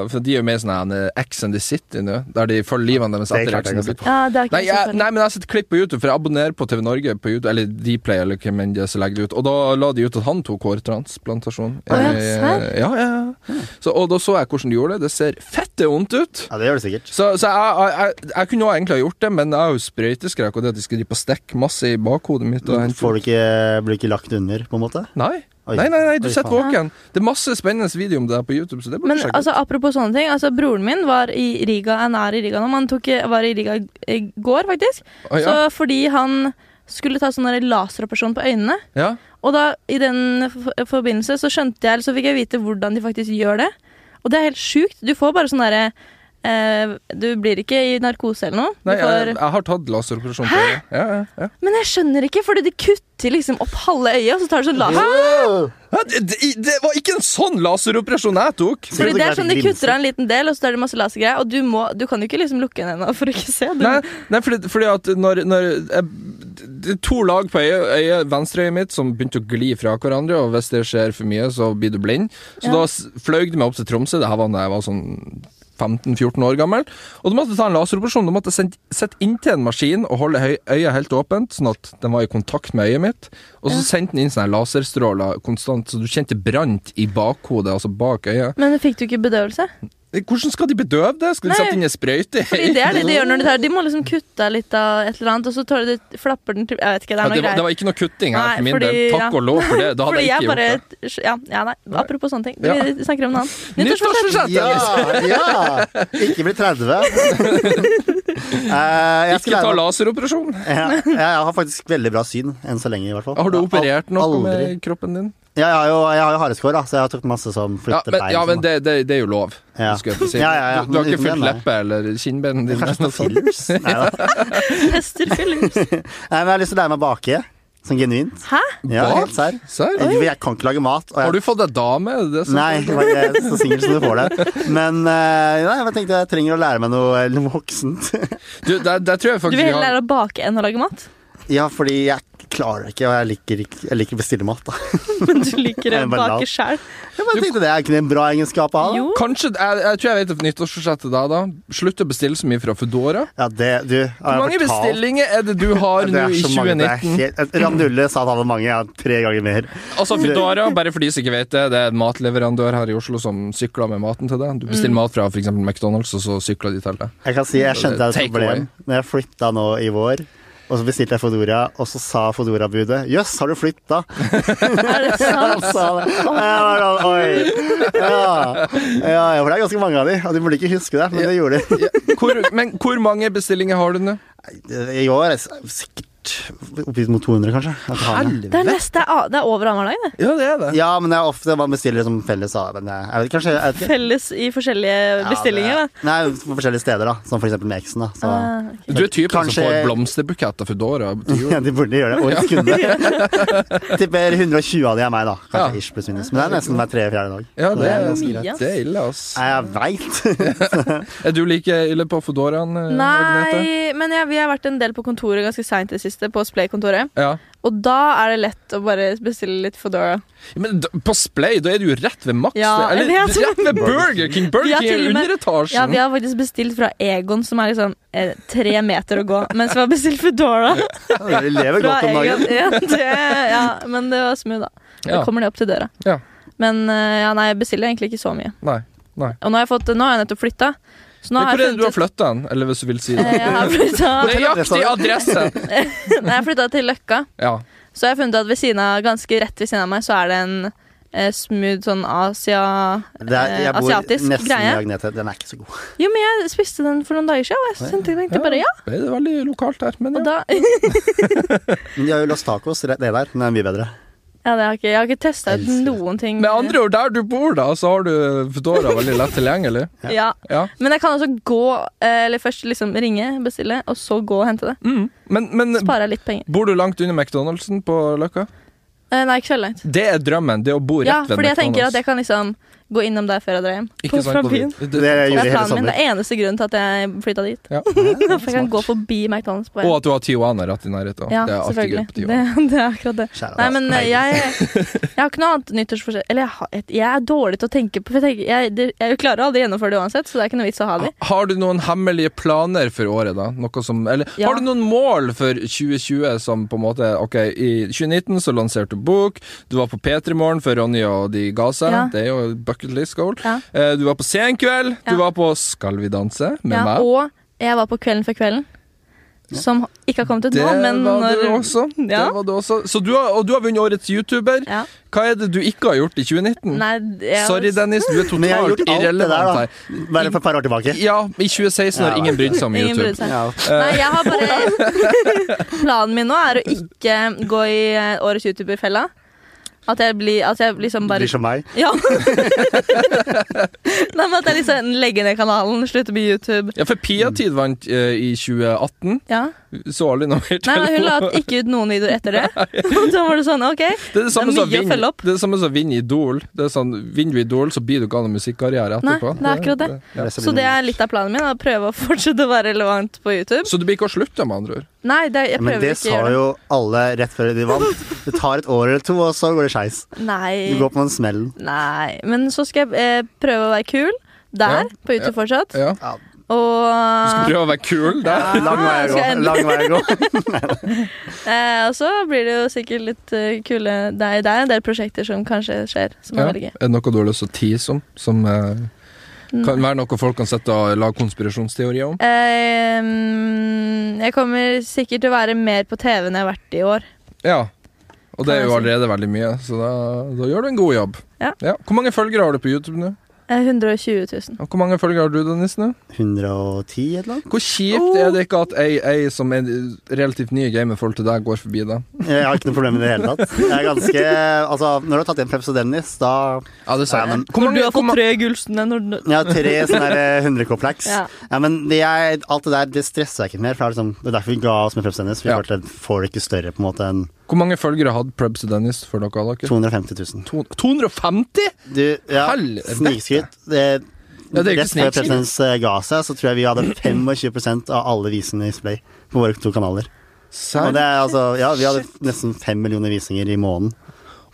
For de er jo med i sånn her, eh, Ex and the City nå, der de følger livene deres
Det
etter
klarte
Ex on
jeg ikke
the
å se
Beach.
på.
Ja, det er ikke
Nei, jeg,
så
nei, men jeg har sett klipp på YouTube, for jeg abonnerer på TV Norge på YouTube, eller Dplay, eller hvem enn det er som legger det ut, og da la de ut at han tok hårtransplantasjon.
Å ja,
Eh,
serr?
ja, ja, ja. Så, og da så jeg hvordan de gjorde det. Det ser fette vondt ut.
Ja, det gjør det sikkert.
Så, så jeg, jeg, jeg, jeg kunne jo egentlig ha gjort det, men jeg er jo sprøyteskrekk, og det at de skal drive på stikk masse i bakhodet mitt og hente
Får du ikke, eh, blir du ikke lagt under, på en måte?
Nei.
Oi.
Nei, nei, nei, du
Oi,
sitter
faen.
våken. Det er masse spennende video om det her på YouTube. Så det burde
Men
du sjekke
altså, apropos sånne ting. Altså, broren min var i Riga, han er i Riga nå, men han tok, eh, var i Riga i- i går, faktisk.
ut. Å, ja.
Så fordi han skulle ta sånn der laseroperasjon på øynene,
ja.
og da i den for- forbindelse så skjønte jeg, eller så fikk jeg vite hvordan de faktisk gjør det. Og det er helt sjukt. Du får bare sånn derre eh, Du blir ikke i narkose eller noe. Du
Nei, jeg,
får,
jeg har tatt laseroperasjon på det. Ja, ja, ja.
men jeg skjønner ikke, fordi de kutter liksom opp halve øyet, og så tar de sånn laser.
Ja, Det, det, det var ikke en sånn laseroperasjon jeg tok!
Ser
Fordi
du
det er
ikke
sånn De
grinsen?
kutter av en liten del, og så tar de masse lasergreier. Og du, må, du kan jo ikke liksom lukke den ennå for å ikke se. Du,
Nei, nei fordi, fordi at når, når jeg, Det er to lag på øyet, øyet venstreøyet mitt som begynte å gli fra hverandre, og hvis det skjer for mye, så blir du blind. Så
Ja.
da s- fløy de meg opp til Tromsø, det her var da jeg var sånn 15-14 år gammel, og da måtte jeg ta en laseroperasjon. Da måtte jeg send- sette inntil en maskin og holde høy- øyet helt åpent, sånn at den var i kontakt med øyet mitt, og så sendte den inn sånne laserstråler konstant, så du kjente brant i bakhodet, altså bak øyet.
Men fikk du ikke bedøvelse?
Hvordan skal de bedøve det? Skal de
Nei.
sette inn en sprøyte?
Fordi det er det de gjør når de tar De må liksom kutte av litt av et eller annet, og så tar de det, flapper den til Jeg vet ikke, det
Ja,
er noe
det, var, det
greier.
var ikke noe kutting her
Nei,
for min
fordi-
del. Takk
ja.
og lov for det. Da hadde
Fordi
jeg
jeg
ikke
bare
gjort det.
Ja, ja nei. Apropos sånne ting.
Ja.
Vi snakker om noe annet. Nyttårsforsett!
Nyttårsforsett!
Ja, ja! Ikke bli 30. Eh, jeg skal
Ikke ta
lære meg-
laseroperasjon.
Ja, jeg har faktisk veldig bra syn, enn så lenge i hvert fall.
Har du operert noe
Aldri.
med kroppen din?
Ja, jeg har jo, jeg har jo hareskår, da, så jeg har tatt masse som
Ja,
flytter
men,
bein.
ja,
sånn,
men
da.
det, det, det er jo lov.
Ja.
skulle jeg til å si.
Ja, ja, ja,
Du, du har
men
ikke
uten
fylt
den, nei.
leppe eller kinnbein din?
Kanskje
eller noe
sånn
sånt.
fillers? Nei, da. Nei,
Hester Philips.
men jeg har lyst til å lære meg å bake. Sånn genuint.
Hæ?
Ja,
Bak?
helt sær.
Serr?
Jeg, jeg kan ikke lage mat. Og jeg,
Har du fått deg dame? Er sånn- det det som-
Nei, det var ikke så singel som du får det. Men eh, nei, jeg tenkte jeg trenger å lære meg noe eh, voksent.
Du, der, der tror jeg
Du
faktisk
vil
vi
heller
har
lære å bake enn å lage mat?
Ja, fordi jeg klarer det ikke, og jeg liker, ikke- jeg liker å bestille mat. Da.
Men du liker å
Jeg bare la-
bake sjæl?
Jeg bare tenkte det er ikke en bra egenskap å ha. Da.
Jo.
Kanskje, jeg, jeg tror jeg vet et nyttårsforsett til deg, da. Slutt å bestille så mye fra Foodora.
Ja, det, du, har
Hvor
jeg
mange
fortalt-
bestillinger er det du har
Det
nå
er
i
så mange, det er
2019?
helt- Randulle sa at han hadde mange, ja, tre ganger mer.
Altså Foodora, bare for de som ikke vet det, det er en matleverandør her i Oslo som sykler med maten til deg. Du bestiller mat fra f.eks. McDonald's, og så sykler de til deg.
Jeg kan si, jeg skjønte jeg hadde
Take
et problem Når jeg flytta nå i vår. Og så bestilte jeg Fodora, og så sa Fodora-budet 'Jøss, har du flytta?'
Er det
Han
sant?
sa det. Og jeg var sånn, Oi. Ja. Ja, ja, for det er ganske mange av de, og de burde ikke huske det, men det gjorde de.
Hvor, men hvor mange bestillinger har du nå?
I år er det sikkert oppgitt mot 200, kanskje. Jeg tar den.
Det er neste a- Det er over annenhver dag, det.
Ja, det er det.
Ja, men det er ofte man bestiller som felles. da, Men eh, jeg, jeg vet, kanskje, jeg vet ikke.
Felles i forskjellige bestillinger, da.
Ja, det er- Nei, på forskjellige steder, da. Som for eksempel med eksen. da så.
Ah, ok.
Du er typen
Kanskje-
som får blomsterbukett av Foodora til jul.
Ah.
Ja, de burde gjøre det. Og de kunne. Tipper 120 av de er meg, da.
Ja.
Kanskje ish pluss minus. Men det er nesten hver tredje-fjerde dag.
Ja, det er,
ganske
mye, ass.
det er ille, ass.
Nei, jeg veit.
Er du like ille på Foodoraen, eh, Agnete?
Nei, men jeg, vi har vært en del på kontoret ganske seint i det siste, på Splay-kontoret.
Ja.
Og da er det lett å bare bestille litt Foodora.
Men d- på Splay, da er du jo rett ved Max.
Ja,
det-
jeg
eller
vet.
rett ved Burger King.
Vi
Burger
har
King er
til
jo
og med- Ja,
underetasjen.
vi har faktisk bestilt fra Egon, som er liksom eh, tre meter å gå, mens vi har bestilt Foodora
De lever
fra
godt om
Egon.
dagen.
Ja, det, ja, men det var smooth, da. Da
Ja.
kommer de opp til døra.
Ja.
Men eh, ja, nei, jeg bestiller egentlig ikke så mye.
Nei. Nei.
Og nå har jeg, fått, nå har jeg nettopp flytta. Så nå
Men
har
Hvor er
jeg
det du har
funnet ut
flytta den, eller hvis du vil si
Eh,
det?
jeg har flytta,
Nøyaktig adresse!
nei, jeg flytta til Løkka.
Ja.
Så jeg har funnet ut at ved siden av, ganske rett ved siden av meg så er det en eh, smooth sånn Asia
Det er, jeg
eh,
bor
asiatisk
nesten
greie.
i Agnete. Den er ikke så god.
Jo, men jeg spiste den for noen dager siden, og jeg tenkte- tenkte bare ja.
Det er veldig lokalt her, men
Og
ja.
da
Men de har jo Los Tacos rett nede der. Den er mye bedre.
Ja, det har jeg ikke, jeg har ikke testa ut
Elsker det.
noen ting.
Med andre ord, der du bor, da, så har du Foodora veldig lett tilgjengelig.
ja.
Ja.
Men jeg kan også gå, eh, eller først liksom ringe, bestille, og så gå og hente det.
Mm. Men, men
Sparer jeg litt penger.
bor du langt under McDonald'sen på Løkka?
Eh, Nei, ikke så langt.
Det er drømmen, det å bo rett
Ja,
ved
fordi jeg tenker at
McDonald's.
jeg kan liksom gå innom der før jeg drar hjem.
Ikke sant?
Fra byen.
Det jeg
Det
gjorde
er
hele
planen min.
sommer.
Det er eneste grunnen til at jeg flytta dit.
Ja.
For jeg kan gå forbi McDonald's på
Og
en.
at du har Tijuana rett i nærheten.
Ja,
det er alltid gøy
selvfølgelig.
på
Det,
Tijuana.
det er akkurat det.
Kjære
Nei,
deg.
men eh, jeg, jeg har ikke noe annet nyttårsforsett Eller jeg, har, et- jeg er dårlig til å tenke på for Jeg, tenker, jeg, det- jeg klarer aldri å gjennomføre det uansett, så det er ikke noe vits å ha det.
Ha- Har du noen hemmelige planer for året, da? Noe som, eller
Ja.
har du noen mål for 2020 som på en måte Ok, i 2019 så lanserte du bok, du var på P3 Morgen for Ronny og de ga seg,
Ja.
det er jo bucket list goal.
Ja.
Eh, Du var på Senkveld,
Ja.
du var på Skal vi danse med
Ja,
meg.
og jeg var på Kvelden før kvelden, som ikke har kommet ut
Det
nå, men
var
når
du også. Det
Ja.
var du også. Så du har, og du har vunnet Årets YouTuber.
Ja.
Hva er det du ikke har gjort i 2019?
Nei, jeg,
Sorry, Dennis, du er
Men jeg har
totalt
gjort alt det der,
irrelevant her.
da. Bare for et par år tilbake.
Ja, i 2016 har
Ja,
ingen brydd seg om
Ingen
YouTube.
brydde seg.
Ja.
Nei, jeg har bare Planen min nå er å ikke gå i eh, årets YouTuber-fella. At jeg blir At jeg liksom
Du
bare
blir som meg.
Ja. Nei, men at jeg liksom legger ned kanalen, slutter med YouTube.
Ja, for Piatid vant eh, i 2018.
Ja.
Så aldri noe mer
Nei,
til.
men hun la ikke ut noen videoer etter det. Og da var det sånn, ok.
Det er det samme
det er
som
mye å
vinner
følge opp.
det er det samme som vinner Idol. Det er sånn, Vinner du Idol, så blir du ikke av noen musikkarriere
Nei,
etterpå.
det er akkurat det.
Ja.
Så det er litt av planen min, å prøve å fortsette å være relevant på YouTube.
Så du blir ikke å slutte, med andre ord?
Nei, det, jeg
Men
prøver
det
ikke å
sa
gjøre det.
jo alle rett før de vant. Det tar et år eller to, og så går det skeis. Du
Nei.
går på den smellen.
Nei. Men så skal jeg eh, prøve å være kul der,
Ja,
på YouTube fortsatt.
Ja.
Ja.
Du skal
Og
prøve å være kul der?
Lang vei å
skal
gå.
jeg
Lang vei å gå.
eh, og så blir det jo sikkert litt eh, kule Det er det er en del prosjekter som kanskje skjer, som er
Ja.
veldig gøy.
Er det noe du har lyst til å tease om? Som eh, kan være noe folk kan sette og lage konspirasjonsteorier om?
Mm. Ehm, jeg kommer sikkert til å være mer på TV enn jeg har vært i år.
Ja. Og det
Kan
er
jeg
jo
si.
allerede veldig mye, så da, da gjør du en god jobb.
Ja.
Hvor mange følgere har du på YouTube nå?
Eh, 120 000.
Og hvor mange følgere har du, Dennis? nå?
110 et eller annet?
Hvor kjipt
Oh.
er det ikke at ei, ei som er relativt ny i gamet i forhold til deg, går forbi deg?
Jeg har ikke noe problem med det i det hele tatt. Jeg er ganske, altså, når du har tatt igjen Prebz og Dennis, da
Ja, det
sier jeg. men-
Hvor mange, hvor mange,
tre gullstene når du
Jeg har tre sånne der, eh, 100 K-flax. Ja.
Ja.
men det er, alt det der det stresser jeg ikke mer. For det, er liksom, det er derfor vi ga oss med Prebz og Dennis. Vi
Ja.
følte at får ikke større på en måte enn
hvor mange følgere hadde Prebz og Dennis før dere hadde dere?
250 000.
To- 250?!
Du, ja,
Helvete.
snikskryt. Det,
Ja, det er jo ikke
rett før
snikskryt.
Prebz og Dennis eh, ga seg, så tror jeg vi hadde 25 av alle visene i Splay på våre to kanaler. Og det
Serr?
er altså, ja, vi hadde nesten fem millioner visninger i måneden.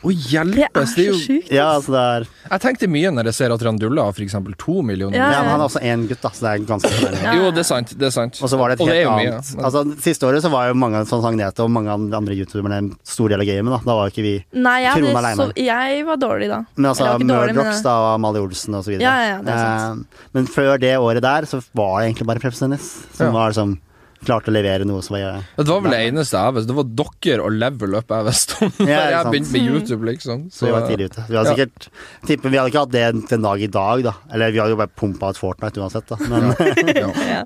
Å
Det er
hjelpes! Det er
så
jo
sjukt.
Ja, altså det er
Jeg tenkte mye når jeg ser at Randulla har for eksempel to millioner.
Ja,
Ja,
visninger.
men han er også én gutt, da, så det er ganske fornærmende.
Ja.
Jo, det er sant. Det er sant.
Og så var det et
Og det er
helt
jo mye,
annet
men-
Altså, Siste året så var jo mange som sang Neto og mange andre andre youtuberne en stor del av gamet. Da Da var jo ikke vi
Nei, jeg,
Kronen
hadde,
alene.
så, jeg var dårlig da.
Men altså
Eller jeg var ikke dårlig,
Murdrocks
men-
da, og Amalie Olsen og så videre.
Ja, ja, ja, det er sant.
Eh, men før det året der så var det egentlig bare Preps Dennis som
Ja.
var liksom klarte å levere noe som var ja,
Det var vel det eneste jeg visste. Det var dere og level up jeg visste om. Da
Ja, ikke
jeg
sant.
begynte med YouTube, liksom.
Så vi var tidlig ute. Vi hadde
Ja.
sikkert tipper vi hadde ikke hatt det den dag i dag, da. Eller vi hadde jo bare pumpa ut Fortnite uansett, da. Men
ja.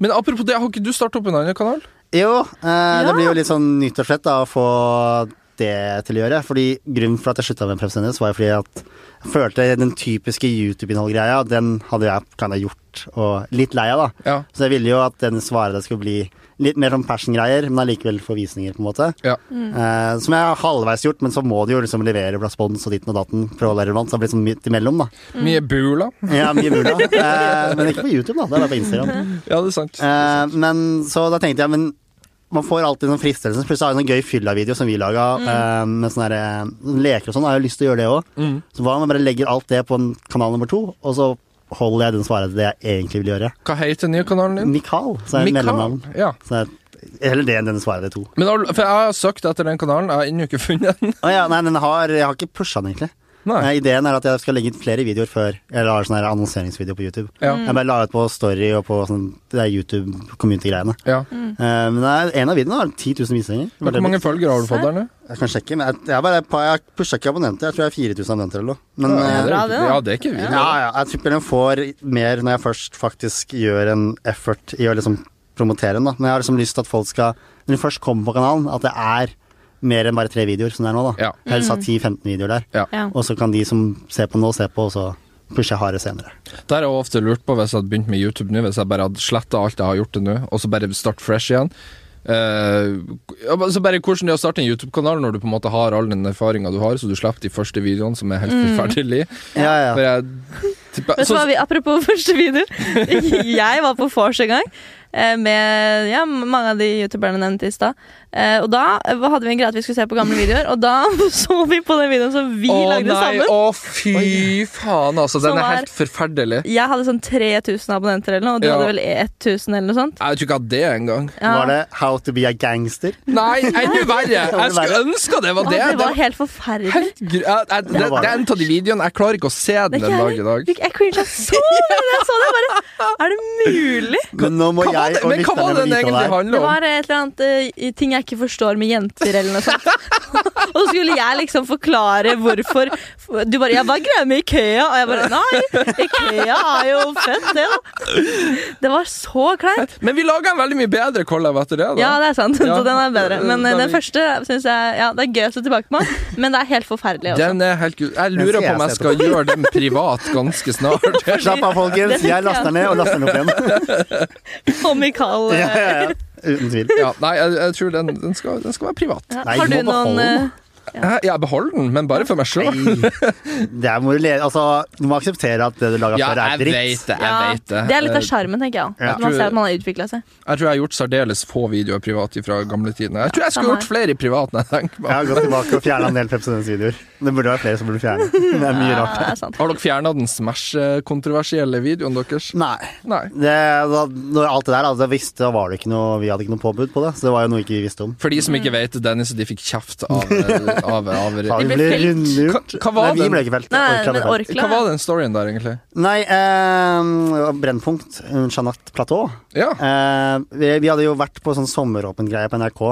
Men apropos det, har ikke du starta opp en annen kanal?
Jo, eh,
Ja.
det blir jo litt sånn nyttårsfett da, å få det til å gjøre. Fordi Grunnen for at jeg slutta med Preps Dennis, var jo fordi at jeg følte den typiske YouTube-innhold-greia, den hadde jeg kan ha gjort, og litt lei av, da.
Ja.
Så jeg ville jo at den svaret skulle bli litt mer sånn passion-greier, men allikevel for visninger, på en måte.
Ja.
Eh, som jeg har halvveis gjort, men så må du jo liksom levere respons og ditten og datten for å holde relevant. Så det blir sånn midt imellom, da.
Mm.
Mye bula.
Ja, mye mulig, da. Eh, men ikke på YouTube, da. Det er bare på Instagram.
Ja, det er sant.
Eh, men så da tenkte jeg, men man får alltid sånn fristelse. Plutselig har jeg en sånn gøy fylla-video som vi laga, eh, med sånne her, eh, leker og sånn. Da har jeg lyst til å gjøre det òg.
Mm.
Så hva om jeg bare legger alt det på en kanal nummer to, og så holder jeg den svaret til det jeg egentlig vil gjøre.
Hva heter den nye kanalen din?
Mikael, så er
Mm.
det
Mikael,
mellomnavn.
Ja.
Så jeg- Heller det enn den svaret til to.
Men har du- for jeg har søkt etter den kanalen, jeg har ennå ikke funnet den.
Å ja, nei, den har, jeg har ikke pusha den, egentlig.
Nei.
Eh, Ideen er at jeg skal legge ut flere videoer før jeg lar sånne her annonseringsvideo på YouTube.
Ja.
Mm.
Jeg bare la ut på Story og på sånn, det der YouTube-community-greiene.
Ja.
Eh, men nei, en av videoene har 10 000 visninger.
Mm. Men Hvor mange følgere har du fått der nå?
Jeg kan sjekke, men jeg, jeg, bare, jeg pusha ikke abonnenter. Jeg tror jeg har 4000 abonnenter eller noe. Men
Ja,
eh,
det er, jo
bra,
ikke-
det, da.
ja, det er ikke
ja,
vi.
ja, jeg tipper den får mer når jeg først faktisk gjør en effort i å liksom promotere den. da Men jeg har liksom lyst til at folk skal, når de først kommer på kanalen, at det er mer enn bare tre videoer, som det er nå, da.
Ja.
Helst ha 10-15 videoer der.
Ja.
Og så kan de som ser på nå, se på, og så pushe hardere senere.
Der har jeg ofte lurt på, hvis jeg hadde begynt med YouTube nå, hvis jeg bare hadde sletta alt jeg har gjort til nå, og så bare start fresh igjen Eh, ja, men så bare Hvordan det er å starte en YouTube-kanal når du på en måte har all den erfaringa du har, så du slipper de første videoene som er helt forferdelige.
Ja, ja.
For jeg, tipper-
Mm. Vet du
så-
hva, vi, apropos første video. Jeg var på vors en gang eh, med ja, mange av de youtuberne nevnte i stad. Eh, Og da eh, hadde vi en greie at vi skulle se på gamle videoer, og da så vi på den videoen som vi
Å
lagde
nei,
sammen.
Å fy faen, altså. Den er
Som er-
helt forferdelig.
Jeg hadde sånn 3000 abonnenter eller noe, og du
Ja.
hadde vel 1000 eller noe sånt.
Jeg vet ikke hva det er engang.
Ja.
Var det How to be a gangster?
Nei, enda verre! Jeg skulle ønske det var
Å,
det.
det var
Det-
helt forferdelig.
helt gru- jeg- jeg- Det det er en av de videoene jeg klarer ikke å se den
Det
en
er ikke
dag i dag.
Jeg cringet så mye da jeg så det. Jeg Bare, er det mulig?
Men nå må
Hva var
jeg
det,
og
men hva var den
lytterne vite
egentlig
hva det er.
handler
Det
om?
var et eller annet eh, ting jeg ikke forstår med jenter eller noe sånt. og så skulle jeg liksom forklare hvorfor Du bare 'Jeg var greia med Ikea', og jeg bare 'Nei, Ikea er jo fett, det, da'. Det var så kleint.
Men vi laga en veldig mye bedre collab etter det. da
Ja, det er sant.
Ja.
Så den er bedre. Men eh,
Den er-
den første syns jeg Ja, det er gøy å se tilbake på, men det er helt forferdelig også.
Den er helt gul. Jeg lurer
skal
på
jeg
om jeg
se
skal gjøre den privat ganske snart.
Slapp av, folkens. Jeg laster ned og laster den opp igjen.
Og Mikael
Ja,
eh,
ja, ja. Uten tvil.
Ja, nei, jeg, jeg tror den, den, skal, den skal være privat.
ja.
Nei,
Har
du
du
må beholde
noen
den.
eh,
Hæ? Jeg beholder den, men bare for meg sjøl.
Nei. Det er, må du, le- altså, du må akseptere at det du lager
Ja,
før, er
jeg
dritt.
vet det.
ja,
Jeg vet det.
det er litt av
Eh,
sjarmen, tenker jeg.
Ja.
At man ser at man har utvikla seg.
Jeg tror jeg har gjort særdeles få videoer privat fra gamle tider. Jeg tror jeg skulle
samme
gjort flere i privat. når jeg tenker
Jeg
meg om.
har gått tilbake og fjerna en del Pepsi Dance-videoer. Det burde være flere som burde fjerne. Det er mye
Ja,
rart.
det er sant.
Har dere fjerna den Smash-kontroversielle videoen deres?
Nei.
Nei.
Det, da, når alt det der, altså, jeg visste, var det ikke noe, vi hadde ikke noe påbud på det, så det var jo noe ikke vi visste om.
For de som ikke vet, Dennis og de fikk kjeft av, av, av
Faen,
De
vi
ble
ble
felt.
rundlurt.
Hva- hva var
Nei, vi
den?
ble ikke felt.
Nei,
Orkla
men
ble felt.
Orkla
Hva var den storyen der, egentlig?
Nei, eh, Brennpunkt, eh, Jeanette Platå.
Ja.
Eh, vi, vi hadde jo vært på sånn sommeråpen greie på NRK,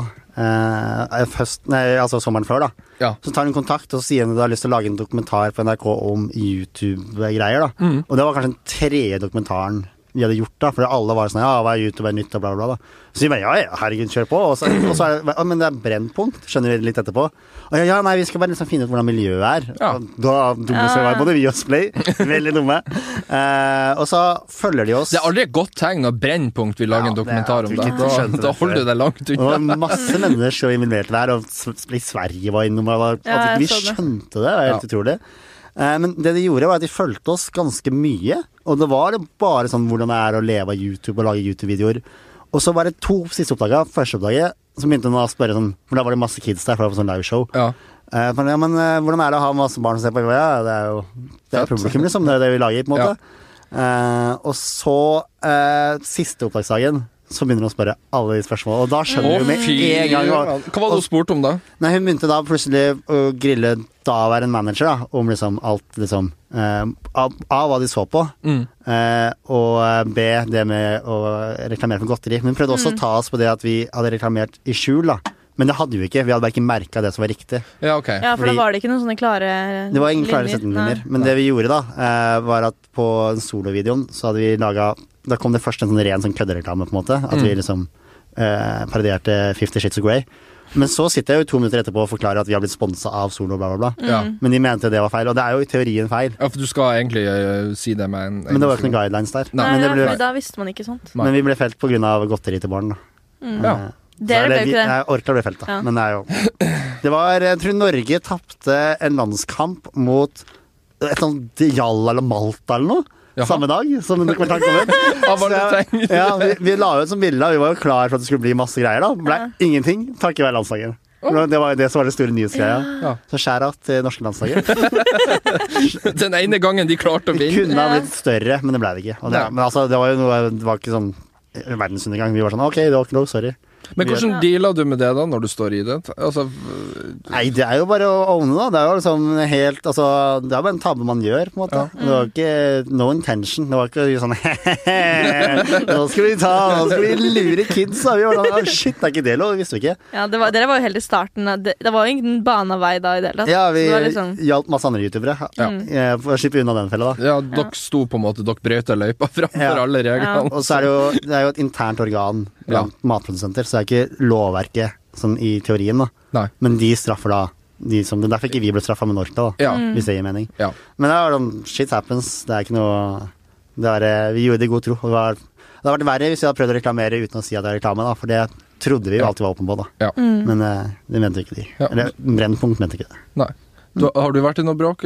eh, høst, nei, altså sommeren før, da.
ja.
Så tar hun kontakt og sier hun at hun har lyst til å lage en dokumentar på NRK om YouTube-greier. da.
Mhm.
Og det var kanskje den tredje dokumentaren vi hadde gjort, da, for alle var sånn ja, hva er YouTube, hva er nytt, og bla, bla, bla. da. Så vi bare ja, ja, herregud, kjør på. Og så, og så er det, «Å, men det er Brennpunkt, skjønner vi litt etterpå. Og ja, ja, nei, vi skal bare liksom finne ut hvordan miljøet er.
Ja.
Og Da dumme så var både vi og Splay, veldig dumme. Eh, og så følger de oss.
Det er aldri et godt tegn når Brennpunkt vil lage
Ja,
en
det er-
dokumentar om
jeg
det.
tror ikke de
Da,
skjønte
da
det
holder du deg langt
Og
unna.
det var masse mennesker involvert der, og s- i Sverige var innom. Og at
Ja, jeg
ikke vi
så det.
skjønte det, det var helt utrolig. Eh, Men det de gjorde, var at de fulgte oss ganske mye. Og det var bare sånn hvordan det er å leve av YouTube og lage YouTube-videoer. Og så var det to siste oppdaga. Første oppdaget så begynte hun å spørre sånn For da var det masse kids der, for det var sånn liveshow.
Ja.
Eh, for, ja, men eh, hvordan er det å ha masse barn som ser på? Ja, det er jo det er
Fett.
publikum, liksom. Det er det vi lager, på en måte. Eh, og så, eh, siste opptaksdagen, så begynner hun å spørre alle de spørsmålene. Og da skjønner vi med en gang hva
Hva var det du spurte om, da?
Nei, hun begynte da plutselig å grille daværende manager da, om liksom alt liksom eh, av, av hva de så på,
Mm.
eh, og eh, B, det med å reklamere for godteri. Men hun prøvde også å ta oss på det at vi hadde reklamert i skjul, da. Men det hadde vi jo ikke. Vi hadde bare ikke merka det som var riktig.
Ja, ok.
Ja, for da
Fordi-
var det ikke noen sånne klare
Det var ingen klare
Nei.
setninger. Men det vi gjorde, da, eh, var at på solovideoen så hadde vi laga Da kom det først en sånn ren sånn køddereklame, på en måte. At
Mm.
vi liksom eh, parodierte Fifty Shits of Grey. Men så sitter jeg jo to minutter etterpå og forklarer at vi har blitt sponsa av Solo, bla, bla, bla.
Ja.
Men de mente det var feil, og det er jo i teorien feil.
ja, for du skal egentlig eh, si det med en, en
Men det var jo ikke noen guidelines der.
Nei,
Nei,
men, det
ja,
ble,
for da visste man ikke sånt.
Nei.
men vi ble felt pga. godteri til barn, da.
Ja.
Eh,
Dere
Eller
ble jo
vi-
ikke det.
Nei, Orkla ble felt, da.
Ja.
Men det er jo Det var Jeg tror Norge tapte en landskamp mot et sånt Jalla eller Malta eller noe.
Jaha.
Samme dag som den dokumentaren kom ut.
Av alle
Så jeg-
ting.
ja, vi, vi la ut som bilde, og vi var jo klar for at det skulle bli masse greier. da Blei ingenting takket være landslaget. Det var jo det som var det store nyhetsgreia.
Ja.
Så skjær av til norske landslaget.
Den ene gangen de klarte å
Vi
vinne.
kunne ha
Ja.
blitt større, men det ble det ikke. Og det,
Nei.
men altså, det var jo noe Det var ikke sånn verdensundergang. Vi var sånn OK, det var ikke lov, sorry.
Men hvordan
Ja.
dealer du med det da, når du står i det? Altså,
Nei, det er jo bare å owne, da. Det er jo liksom helt Altså, det er bare en tabbe man gjør, på en måte. Det var ikke no intention. Det var ikke sånn Nå skal vi ta Nå skal vi lure kids, da. Vi var sånn, «Å, Shit, det er ikke det lov? Visste vi ikke.
Ja, det var, dere var jo helt i starten. av- Det, det var jo ingen bana vei da i det hele tatt. Mm.
Ja, vi
Så det var liksom,
hjalp masse andre youtubere.
Ja.
Eh, For å slippe unna den fella, da.
ja, dere sto på en måte, dere brøyta løypa framfor
Ja.
alle reglene.
Og så er det jo Det er jo et internt organ blant matprodusenter, så det er ikke lovverket sånn i teorien, da.
Nei.
Men de straffer da de som Det er derfor ikke vi ble straffa med Norta, da.
Mm.
Ja.
Hvis det gir mening.
Ja.
Men det er sånn shit happens. Det er ikke noe det er, eh, Vi gjorde det i god tro. Og det, var, det hadde vært verre hvis vi hadde prøvd å reklamere uten å si at det er reklame, da. For det trodde vi jo
Ja.
alltid var åpen på, da.
ja.
Men eh, det mente ikke de.
Ja.
Eller Brennpunkt mente ikke det.
Nei. Du, har du vært i noe bråk?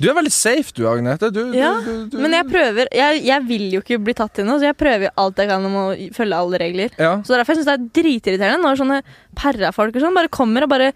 Du er veldig safe du, Agnete. Du,
Ja,
du, du, du.
Men jeg prøver jeg, jeg vil jo ikke bli tatt i noe, så jeg prøver jo alt jeg kan om å følge alle regler.
ja.
Så derfor syns jeg synes det er dritirriterende når sånne perrafolk og sånn bare kommer og bare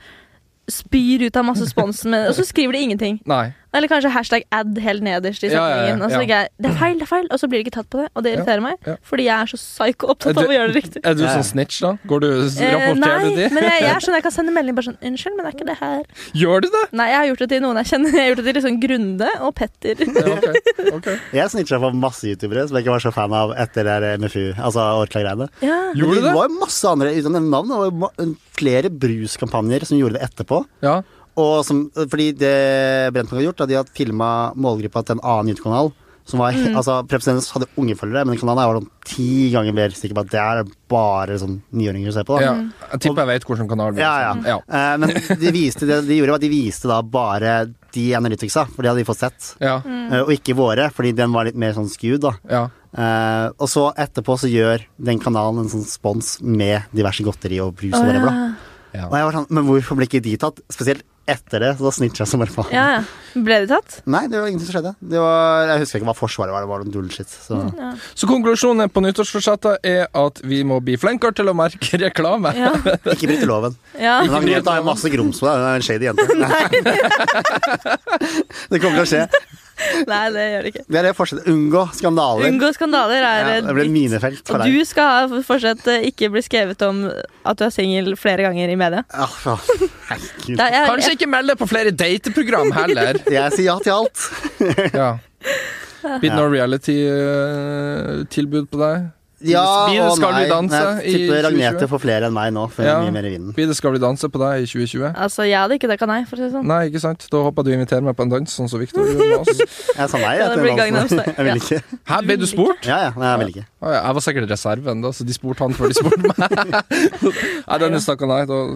spyr ut av masse spons, med, og så skriver de ingenting.
Nei.
Eller kanskje hashtag ad helt nederst i
Ja, ja, ja,
setningen. Og så
ja.
tenker jeg, det er feil, det er feil, og så blir det ikke tatt på det. Og det irriterer meg,
ja.
fordi jeg er så psyko opptatt
Er
av
du-
å gjøre det riktig.
Er du
Ja.
sånn snitch, da? Går du,
Eh, nei,
rapporterer du de?
men jeg, jeg, er sånn, jeg kan sende melding bare sånn Unnskyld, men det er ikke det her.
Gjør du det?
Nei, jeg har gjort det til noen jeg kjenner. Jeg har gjort det til liksom Grunde og Petter.
Ja, ok, ok.
Jeg snitcha på masse youtubere som jeg ikke var så fan av etter det der MFU, altså Orkla-greiene.
Ja.
Gjorde
Men
du det?
var jo masse andre uten å nevne navn. Det var jo ma- flere bruskampanjer som gjorde det etterpå.
Ja.
Og som, fordi det Brennpunkt har gjort, er at de har filma målgruppa til en annen YouTube-kanal. Som var,
Mm.
altså, Preps hadde unge følgere, men den kanalen her var sånn ti ganger mer sikker på at det er bare sånn niåringer som ser på. Da.
ja. Jeg tipper jeg vet hvilken kanal det er. sånn.
Ja, ja.
Ja.
Eh, men de viste, det de gjorde, var at de viste da bare de analyticsa, for det hadde de fått sett.
Ja.
Mm.
Eh, og ikke våre, fordi den var litt mer sånn skewed, da.
ja.
Eh, og så etterpå så gjør den kanalen en sånn spons med diverse godteri og brus
Å,
og whatever,
ja.
da.
ja.
Og jeg var sånn, men hvorfor ble ikke de tatt? Spesielt etter det, så da snitcha jeg som bare faen.
ja, ja. Ble de tatt?
Nei, det var ingenting som skjedde. Det var, jeg husker ikke hva forsvaret var, det var noe bullshit. Så.
Så konklusjonen på nyttårsforsettet er at vi må bli flinkere til å merke reklame.
Ja.
Ikke bryte loven.
ja.
Men han jenta har jo masse grums på deg, hun er en shady jente. det kommer til å skje.
Nei, det gjør det ikke.
Det er det forskjellen. Unngå skandaler.
Unngå skandaler er
Ja,
eh,
det blir
ditt.
minefelt for
Og
deg.
du skal ha- for- fortsatt eh, ikke bli skrevet om at du er singel flere ganger i media.
Ja, Ah, faen. Herregud.
Det er- jeg-
Kanskje ikke meld deg på flere dateprogram heller.
Jeg sier ja til alt.
Ja. Blitt noe reality-tilbud på deg?
Ja
Blir det
og
Skal
nei.
vi danse
Jeg
i
tipper
2020?
Ragnete får flere enn meg nå, for hun
Ja.
er mye mer i vinden.
Blir det Skal vi danse på deg i 2020?
Altså, jeg hadde ikke takka nei, for å si det sånn.
Nei, ikke sant? Da håper jeg du inviterer meg på en dans, sånn som Victor gjorde med oss.
Jeg sa nei.
Ja, det
til
blir
dansen.
Gangnam Style.
Jeg vil ikke.
Hæ, ble du spurt?
Ja, ja, nei, jeg vil ikke.
Å ja, jeg var sikkert reserven, da, så de spurte han før de spurte meg. nei, denne stakka nei. Da.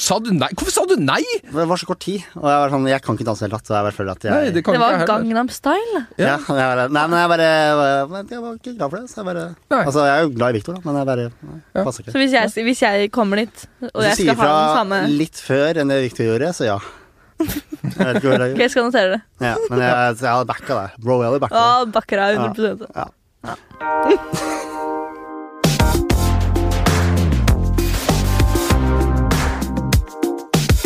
Sa du nei? Hvorfor sa du nei?!
Det var så kort tid, og jeg var sånn, jeg kan ikke danse i det hele tatt. Og jeg bare føler at jeg
Nei, det kan
Det
ikke jeg
var
heller.
Gangnam Style.
ja. jeg bare, Nei, men jeg bare jeg var- Jeg var ikke glad for det. Så jeg bare
Nei.
Altså, jeg er jo glad i Victor, da, men jeg bare nei,
Ja.
passer
Så
ikke.
hvis jeg, hvis jeg kommer dit, og jeg
Hvis du
skal
sier
ha den
fra
samme
litt før enn det Victor gjorde, så ja. Jeg vet ikke hvor det
Ok, jeg skal notere det.
ja, Men jeg, jeg hadde backa deg. Bro, jeg hadde backa
Å,
deg.
bakker av 100
Ja.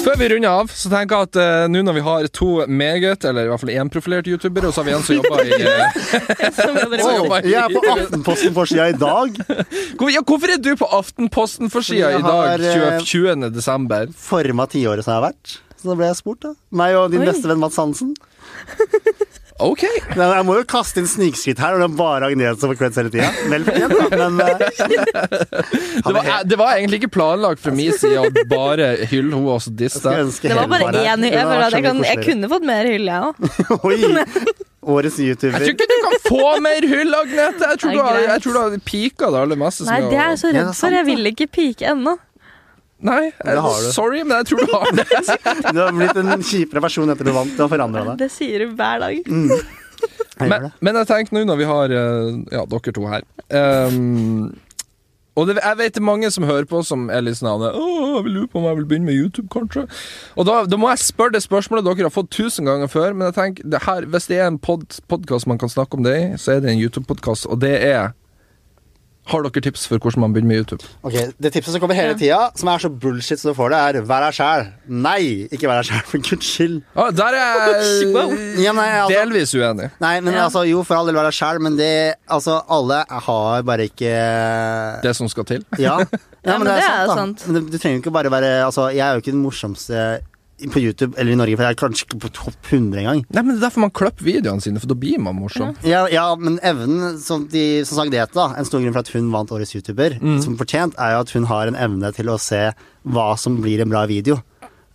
Før vi runder av, så tenker jeg at eh, nå når vi har to meget, eller i hvert fall én profilert YouTuber, og så har vi en som jobber i eh,
Som jeg bare-
Så
Oi,
jobber i-
jeg er på Aftenposten for sida i dag.
Hvor- ja, Hvorfor er du på Aftenposten-forsida i
Fordi jeg
dag,
har, eh,
20. 20. desember?
Forma tiåret som jeg har vært. Så da ble jeg spurt, da. Meg og din
Oi.
beste venn Mats Hansen.
OK!
Nei, men jeg må jo kaste inn snikskritt her, når det er bare Agnete som får creds hele tida. Vel fortjent, da. Men eh,
Det var, eh, det var egentlig ikke planlagt fra min side å bare hylle henne og så disse
jeg
deg.
ønsker
Det var
hele
bare én hylle.
Det
Jeg,
var
føler at jeg,
skikkelig
kan, jeg
koseligere.
kunne fått mer hylle, jeg òg.
Oi! Årets
Jeg
YouTuber.
tror ikke du kan få mer hyll, Agnete! Jeg tror
Nei,
du har, jeg
greit.
tror du har pika det aller meste. som
Nei, det er jeg så
Ja, det er
redd for.
sant,
Jeg
da.
vil ikke pike ennå.
Nei,
Det har du.
sorry, men jeg tror du har det.
Du har blitt en kjipere person etter du vant. Du har forandra deg.
Det sier du hver dag.
Jeg gjør
Men,
det.
men jeg tenker nå når vi har eh, ja, dere to her ehm, Og det, jeg vet det er mange som hører på som er litt sånn Å, jeg vil lurer på om jeg vil begynne med YouTube, kanskje. Og da, da må jeg spørre det spørsmålet dere har fått tusen ganger før, men jeg tenker det her, hvis det er en pod, podkast man kan snakke om det i, så er det en YouTube-podkast, og det er Har dere tips for hvordan man begynner med YouTube?
Ok, Det tipset som kommer hele tida, som er så bullshit som du får det, er vær deg sjæl. Nei, ikke vær deg sjæl, for guds skyld.
Ah, der er jeg
Ja, nei, altså-
delvis uenig.
Nei, men
Ja.
altså, jo, for all del vær deg sjæl, men det Altså, alle har bare ikke
Det som skal til.
Ja,
Ja, men det er jo
da.
sant.
Men du, du trenger jo ikke bare være Altså, jeg er jo ikke den morsomste på YouTube eller i Norge, for jeg er kanskje ikke på topp 100 engang.
Nei, men Det er derfor man klipper videoene sine, for da blir man morsom.
Ja, ja, men evnen som, de, som sagt det heter, da, en stor grunn for at hun vant Årets YouTuber, som fortjent, er jo at hun har en evne til å se hva som blir en bra video,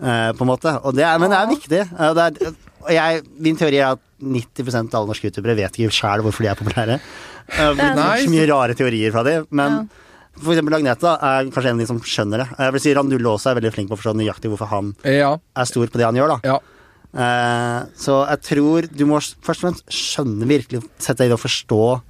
eh, på en måte. Og det er, men det er viktig. Eh, det er, og jeg, min teori er at 90 av alle norske youtubere vet ikke sjæl hvorfor de er populære. Eh,
er
det er
sant.
så mye rare teorier fra dem, men For eksempel Agneta er kanskje en av de som skjønner det. Jeg vil si Randulle også er veldig flink på å forstå nøyaktig hvorfor han
Ja.
er stor på det han gjør, da.
ja.
Eh, så jeg tror du må først og fremst skjønne virkelig Sette deg inn og forstå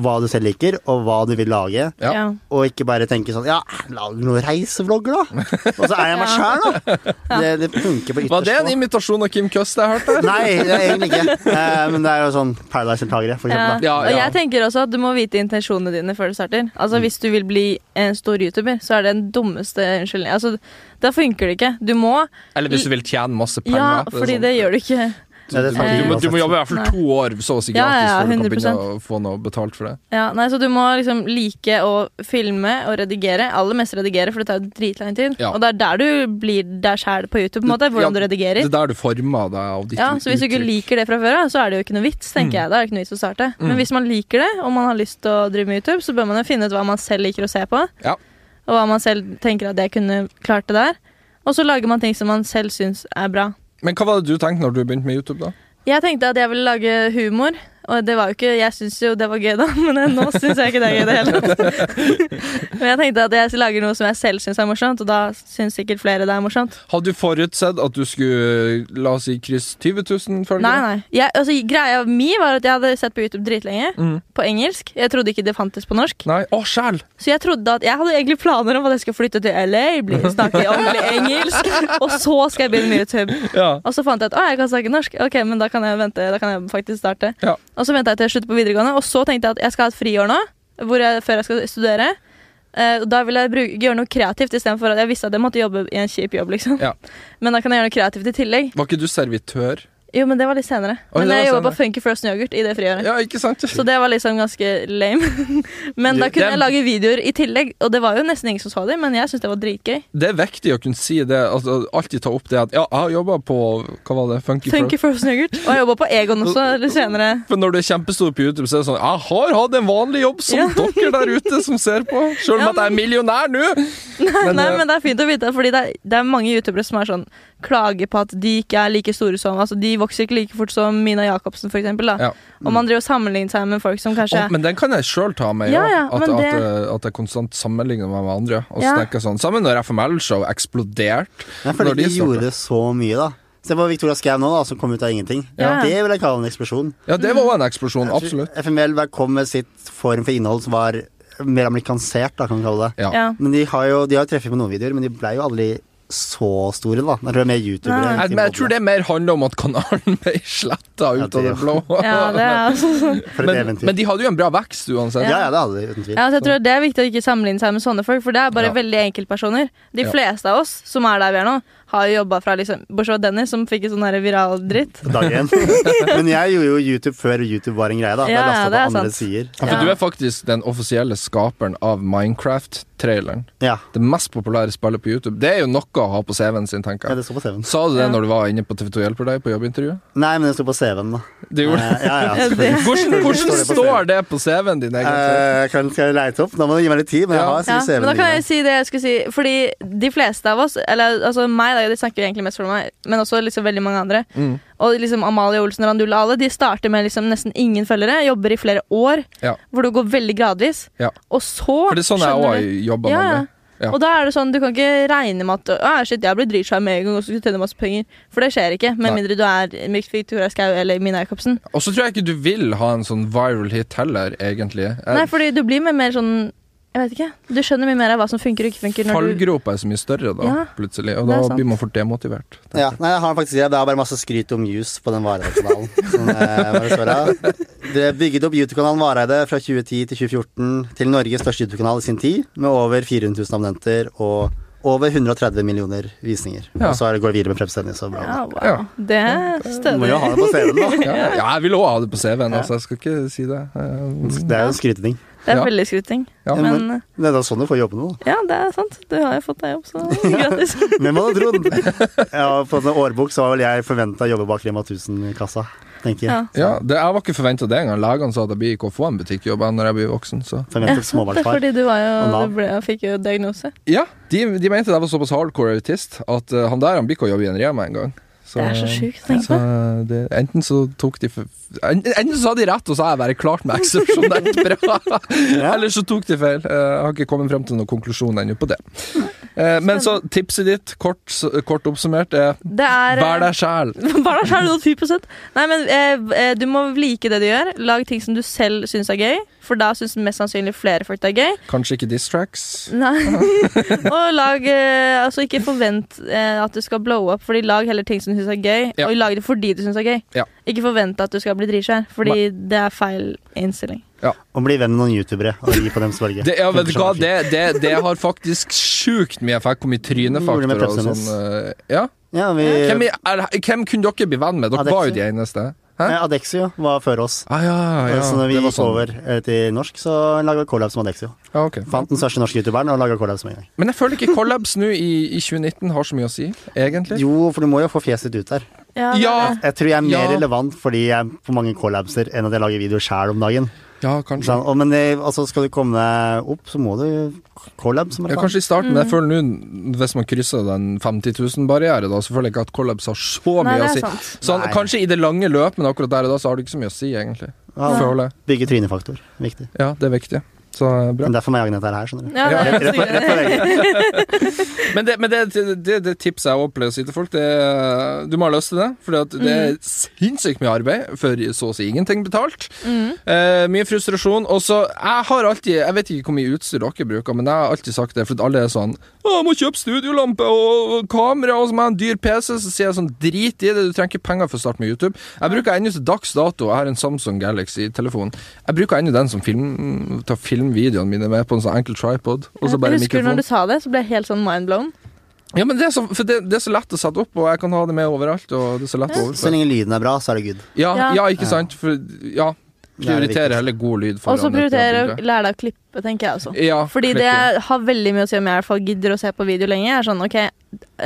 hva du selv liker, og hva du vil lage.
Ja.
Og ikke bare tenke sånn Ja, lag noen reisevlogger, da! Og så er jeg meg
Ja.
sjæl, da! Det, det funker på ytterst
Var det en
få.
imitasjon av Kim Køss jeg hørte?
Nei, det er egentlig ikke. Eh, men det er jo sånn Paradise-deltakere, for
Ja.
eksempel. Da.
Ja,
Og
ja.
jeg tenker også at du må vite intensjonene dine før du starter.
Mm.
Altså Hvis du vil bli en stor YouTuber, så er det den dummeste unnskyldningen. Altså, da funker det ikke. Du må
Eller hvis du vil tjene masse penger.
Ja,
for
fordi det gjør du ikke.
Ja, det er sant.
Du må, du må jobbe i hvert fall
Nei.
to år så å si
Ja,
gratis
ja,
før du kan
100%.
begynne å få noe betalt for det.
Ja, nei, Så du må liksom like å filme og redigere. Aller mest redigere, for det tar jo dritlang tid.
Ja.
Og det er der du blir deg sjæl på YouTube, på en måte,
Ja,
hvordan du
Det
redigerer.
er der du former deg av ditt
Ja, Så hvis du ikke
uttrykk.
liker det fra før av, så er det jo ikke noe vits. tenker jeg, da er det ikke noe vits å starte.
Mm.
Men hvis man liker det, og man har lyst til å drive med YouTube, så bør man jo finne ut hva man selv liker å se på.
Ja.
Og hva man selv tenker at jeg kunne klart det der. Og så lager man ting som man selv syns er bra.
Men hva var det du tenkte når du begynte med YouTube, da?
Jeg tenkte at jeg ville lage humor, og det var jo ikke Jeg syns jo det var gøy, da, men nå syns jeg ikke det er gøy i det hele tatt. men jeg tenkte at jeg lager noe som jeg selv syns er morsomt, og da syns sikkert flere det er morsomt.
Hadde du forutsett at du skulle, la oss si, krysse 20 000
Nei,
følgere?
nei. Jeg, altså, greia mi var at jeg hadde sett på YouTube dritlenge,
Mm.
på engelsk. Jeg trodde ikke det fantes på norsk.
Nei. Å, sjæl!
Så jeg trodde at Jeg hadde egentlig planer om at jeg skulle flytte til LA, bli, snakke ordentlig engelsk, og så skal jeg begynne med YouTube.
Ja.
Og så fant jeg ut at jeg kan snakke norsk. Ok, men da kan jeg vente, da kan jeg faktisk starte.
Ja.
Og så venta jeg til jeg sluttet på videregående, og så tenkte jeg at jeg skal ha et friår nå. Hvor jeg, før jeg skal studere. Eh, og da vil jeg bruke, gjøre noe kreativt istedenfor at jeg visste at jeg måtte jobbe i en kjip jobb. liksom
Ja.
Men da kan jeg gjøre noe kreativt i tillegg.
Var ikke du servitør?
Jo, men det var litt senere.
Oi, det
men jeg
var
jobba
senere.
på Funky Frozen Yoghurt i det friåret.
Ja, ikke sant?
Så det var liksom ganske lame. men
Det-
da
det
kunne
er-
jeg lage videoer i tillegg, og det var jo nesten ingen som så dem, men jeg syntes det var dritgøy.
Det er viktig å kunne si det, altså, alltid ta opp det at ja, jeg har jobba på Hva var det? Funky Fro.
Funky Frozen Yoghurt. Og jeg jobba på Egon også litt senere.
For når du er kjempestor på YouTube, så er det sånn Jeg har hatt en vanlig jobb som
Ja.
dere der ute som ser på, sjøl om
Ja,
at jeg er millionær nå! Men,
Nei,
eh,
men det er fint å vite, fordi det er, det er mange youtubere som er sånn klager på at de ikke er like store som Altså, de vokser ikke like fort som Mina Jacobsen, for eksempel. Da.
Ja.
Og man driver og sammenligner seg med folk som kanskje
Å, men den kan jeg sjøl ta med,
Ja, ja,
at,
men
at,
det-
eh, at jeg konstant sammenligner meg med andre. Og så
Ja.
tenker jeg sånn Sammen når FML-show eksploderte.
Men Jeg føler
Når de
ikke de
starter.
gjorde så mye, da. Se på Victoria Skau nå, da, som kom ut av ingenting.
Ja.
Det vil jeg kalle en eksplosjon.
Ja, det var òg en eksplosjon. Absolutt.
FML bare kom med sitt form for innhold som var mer amerikansert, da, kan vi kalle det.
Ja.
ja.
Men de har jo de har jo treffet på noen videoer, men de ble jo aldri så store, da. Jeg tror det er mer youtubere.
Nei.
enn
Jeg, men jeg tror det mer handler om at kanalen ble sletta
Ja,
ut av det
det-
blå.
ja, det er altså sånn.
For et
men,
eventyr.
men de hadde jo en bra vekst uansett.
ja. ja, det hadde de, uten tvil.
Ja, altså, jeg tror det er viktig å ikke sammenligne seg med sånne folk, for det er bare
sånn. Ja.
veldig enkeltpersoner. De
Ja.
fleste av oss som er der vi er nå, har jo jobba fra liksom Bortsett fra Dennis, som fikk en sånn her viral dritt.
På dagen. men jeg gjorde jo YouTube før YouTube var en greie, da.
Ja,
jeg
ja,
lasta på
det er
andre
sant.
sider.
Ja,
Ja.
for du er faktisk den offisielle skaperen av Minecraft-traileren.
Ja,
Det mest populære spillet på YouTube. Det er jo noe å ha på CV-en sin,
ja,
tenker jeg.
det står på CV-en.
Sa du det
Ja.
når du var inne på TV2 Hjelper deg på jobbintervjuet?
Nei, men det står på CV-en, da.
Det
Eh,
gjorde det.
Ja, ja,
Ja,
selvfølgelig.
det-
Hvordan, hvordan
Står det på
står det på CV-en din, egentlig?
Eh, kan, skal jeg leite opp? Da må du gi meg litt tid, men jeg
Ja.
har
Ja,
sikkert
men da
CV-en.
kan
din
jeg si det jeg skulle si. Fordi de fleste av oss, eller altså meg, da, de snakker jo egentlig mest for meg, men også liksom veldig mange andre,
Mm.
Og liksom Amalie Olsen og Randulla alle de starter med liksom nesten ingen følgere, jobber i flere år,
Ja.
hvor du går veldig gradvis.
Ja.
Og så
For det er sånn jeg
skjønner
òg jobber
Ja,
med. Ja.
Og da er det sånn, du kan ikke regne med at «Å, shit, jeg blir dritsvær med en gang og så skal jeg tjene masse penger. For det skjer ikke, med
Nei.
mindre du er Mick Victoria Skau eller Mina Jacobsen.
Og så tror jeg ikke du vil ha en sånn viral hit heller, egentlig.
Nei,
Jeg-
fordi du blir med mer sånn Jeg vet ikke. Du skjønner mye mer av hva som funker og ikke funker. Når du,
Fallgropa er så mye større da,
Ja,
plutselig, og
det
da
er sant.
blir man fort demotivert.
Ja, nei, jeg har faktisk det. Det er bare masse skryt om juice på den Vareide-kanalen. Sånn, eh, hva det står her. Dere bygget opp YouTube-kanalen Vareide fra 2010 til 2014 til Norges største YouTube-kanal i sin tid, med over 400 000 abonnenter og over 130 millioner visninger.
Ja.
Og så er det- går det videre med Preb Stennis og bla,
ja,
bla.
wow.
Ja.
Det er
Du må
stødig.
jo ha det på CV-en, da.
Ja, ja jeg vil òg ha det på CV-en,
Ja.
altså. Jeg skal ikke si det. Eh,
Det er jo en skryteting.
Det er
Ja.
veldig skryting.
Ja.
Men
Det er da sånn du får jobbe nå, da.
ja, det er sant. Du har jo fått deg jobb, så gratis.
Hvem hadde trodd? Ja, på en årbok så var vel jeg forventa å jobbe bak Rema 1000-kassa, tenker jeg.
Ja.
Eh, Ja, det, jeg var ikke forventa det engang. Legene sa at jeg blir ikke å få en butikkjobb jeg, når jeg blir voksen, så
Ja,
Forventet
det er
småbarnsfar.
fordi du var jo,
Og Nav.
du ble, fikk jo diagnose.
Ja, de, de mente jeg var såpass hardcore autist at eh, han der han blir ikke å jobbe i en Rema engang. Så,
Det er så sjukt å tenke
så eh, det, enten så tok de for, en- Enten så hadde de rett, og så har jeg bare klart meg eksepsjonelt bra. Eller så tok de feil. Eh, Jeg har ikke kommet frem til noen konklusjon ennå på det. Eh, Men så tipset ditt, kort, s- kort oppsummert, er
Det er
vær deg sjæl.
Bare da skjærer du opp 10 Nei, men eh, eh, Du må like det du gjør. Lag ting som du selv syns er gøy, for da syns mest sannsynlig flere folk det er gøy.
Kanskje ikke diss tracks.
Nei. og lag eh, Altså, ikke forvent eh, at du skal blow up, Fordi lag heller ting som du syns er gøy,
Ja.
og lag det fordi du syns er gøy.
Ja.
Ikke forvent at du skal bli dritsvær, fordi det er feil innstilling.
Og bli venn med noen youtubere og gi på deres farge.
Det, ja, vet du hva, det, det, det har faktisk sjukt mye effekt på mye
Gjorde det med
trynefaktor og
Pepsi-Nes.
sånn. eh, Ja.
Ja, vi,
Hvem, i- er, hvem kunne dere bli venn med? Dere
Adexi.
var jo de eneste. Hæ?
Nei, Adexio var før oss.
Ah, ja, ja.
så når vi
det var
gikk
sånn.
over eh, til norsk, så laga vi collabs med Adexio.
Ja, ok.
Fant den største norske youtuberen og laga collabs med en gang.
Men jeg føler ikke collabs nå i, i 2019 har så mye å si, egentlig.
Jo, for du må jo få fjeset ditt ut der.
Ja,
Jeg tror jeg er mer
Ja.
relevant fordi jeg er på mange collabser enn at jeg lager videoer sjæl om dagen.
ja
Ikke
kanskje.
sant? Og, men eh, altså, skal du komme deg opp, så må du collabs.
Ja, kanskje i starten,
Mm.
men jeg føler nå, hvis man krysser den 50 000-barriere, da, så føler jeg ikke at collabs har så
Nei,
mye
det
å
er
si.
sant.
Sånn,
Nei.
kanskje i det lange løp, men akkurat der og da så har du ikke så mye å si, egentlig.
Ja,
Føler jeg.
Bygge trynefaktor. Viktig.
Ja, det er viktig. Så eh, bra.
Men derfor må jeg Agnete er her, skjønner du.
Ja, det er
Rett, rett, rett, fra legen.
Men det, men det, det, det, det tipset jeg også pleier å si til folk, det er du må ha lyst til det. For det
Mm.
er sinnssykt mye arbeid for så å si ingenting betalt.
Mm.
Eh, mye frustrasjon. Og så Jeg har alltid Jeg vet ikke hvor mye utstyr dere bruker, men jeg har alltid sagt det, for alle er sånn Å, jeg må kjøpe studiolampe og og kamera, og så må jeg ha en dyr PC. Så sier jeg sånn Drit i det, du trenger ikke penger for å starte med YouTube. Jeg bruker ennå til dags dato Jeg har en Samsung Galaxy-telefon. Jeg bruker ennå den som film, til å filme videoene mine med, på en sånn enkel tripod. Og så bare
jeg husker
mikrofon.
når du sa det, så ble jeg helt sånn mindblown.
Ja, men det er, så, for det, det er så lett å sette opp, og jeg kan ha det med overalt. Og det er så lett å
Så
overføre.
lenge lyden er bra, så er det good.
Ja,
Ja.
ja, ikke sant? For, ja,
Det er det viktigste.
prioritere heller god lyd
Og
foran
så
et bra
prioritere å
bilde.
lære deg å klippe, tenker jeg også.
ja,
Fordi det
klikke.
har veldig mye å si om jeg i hvert fall gidder å se på video lenge. Jeg er sånn, ok, eh,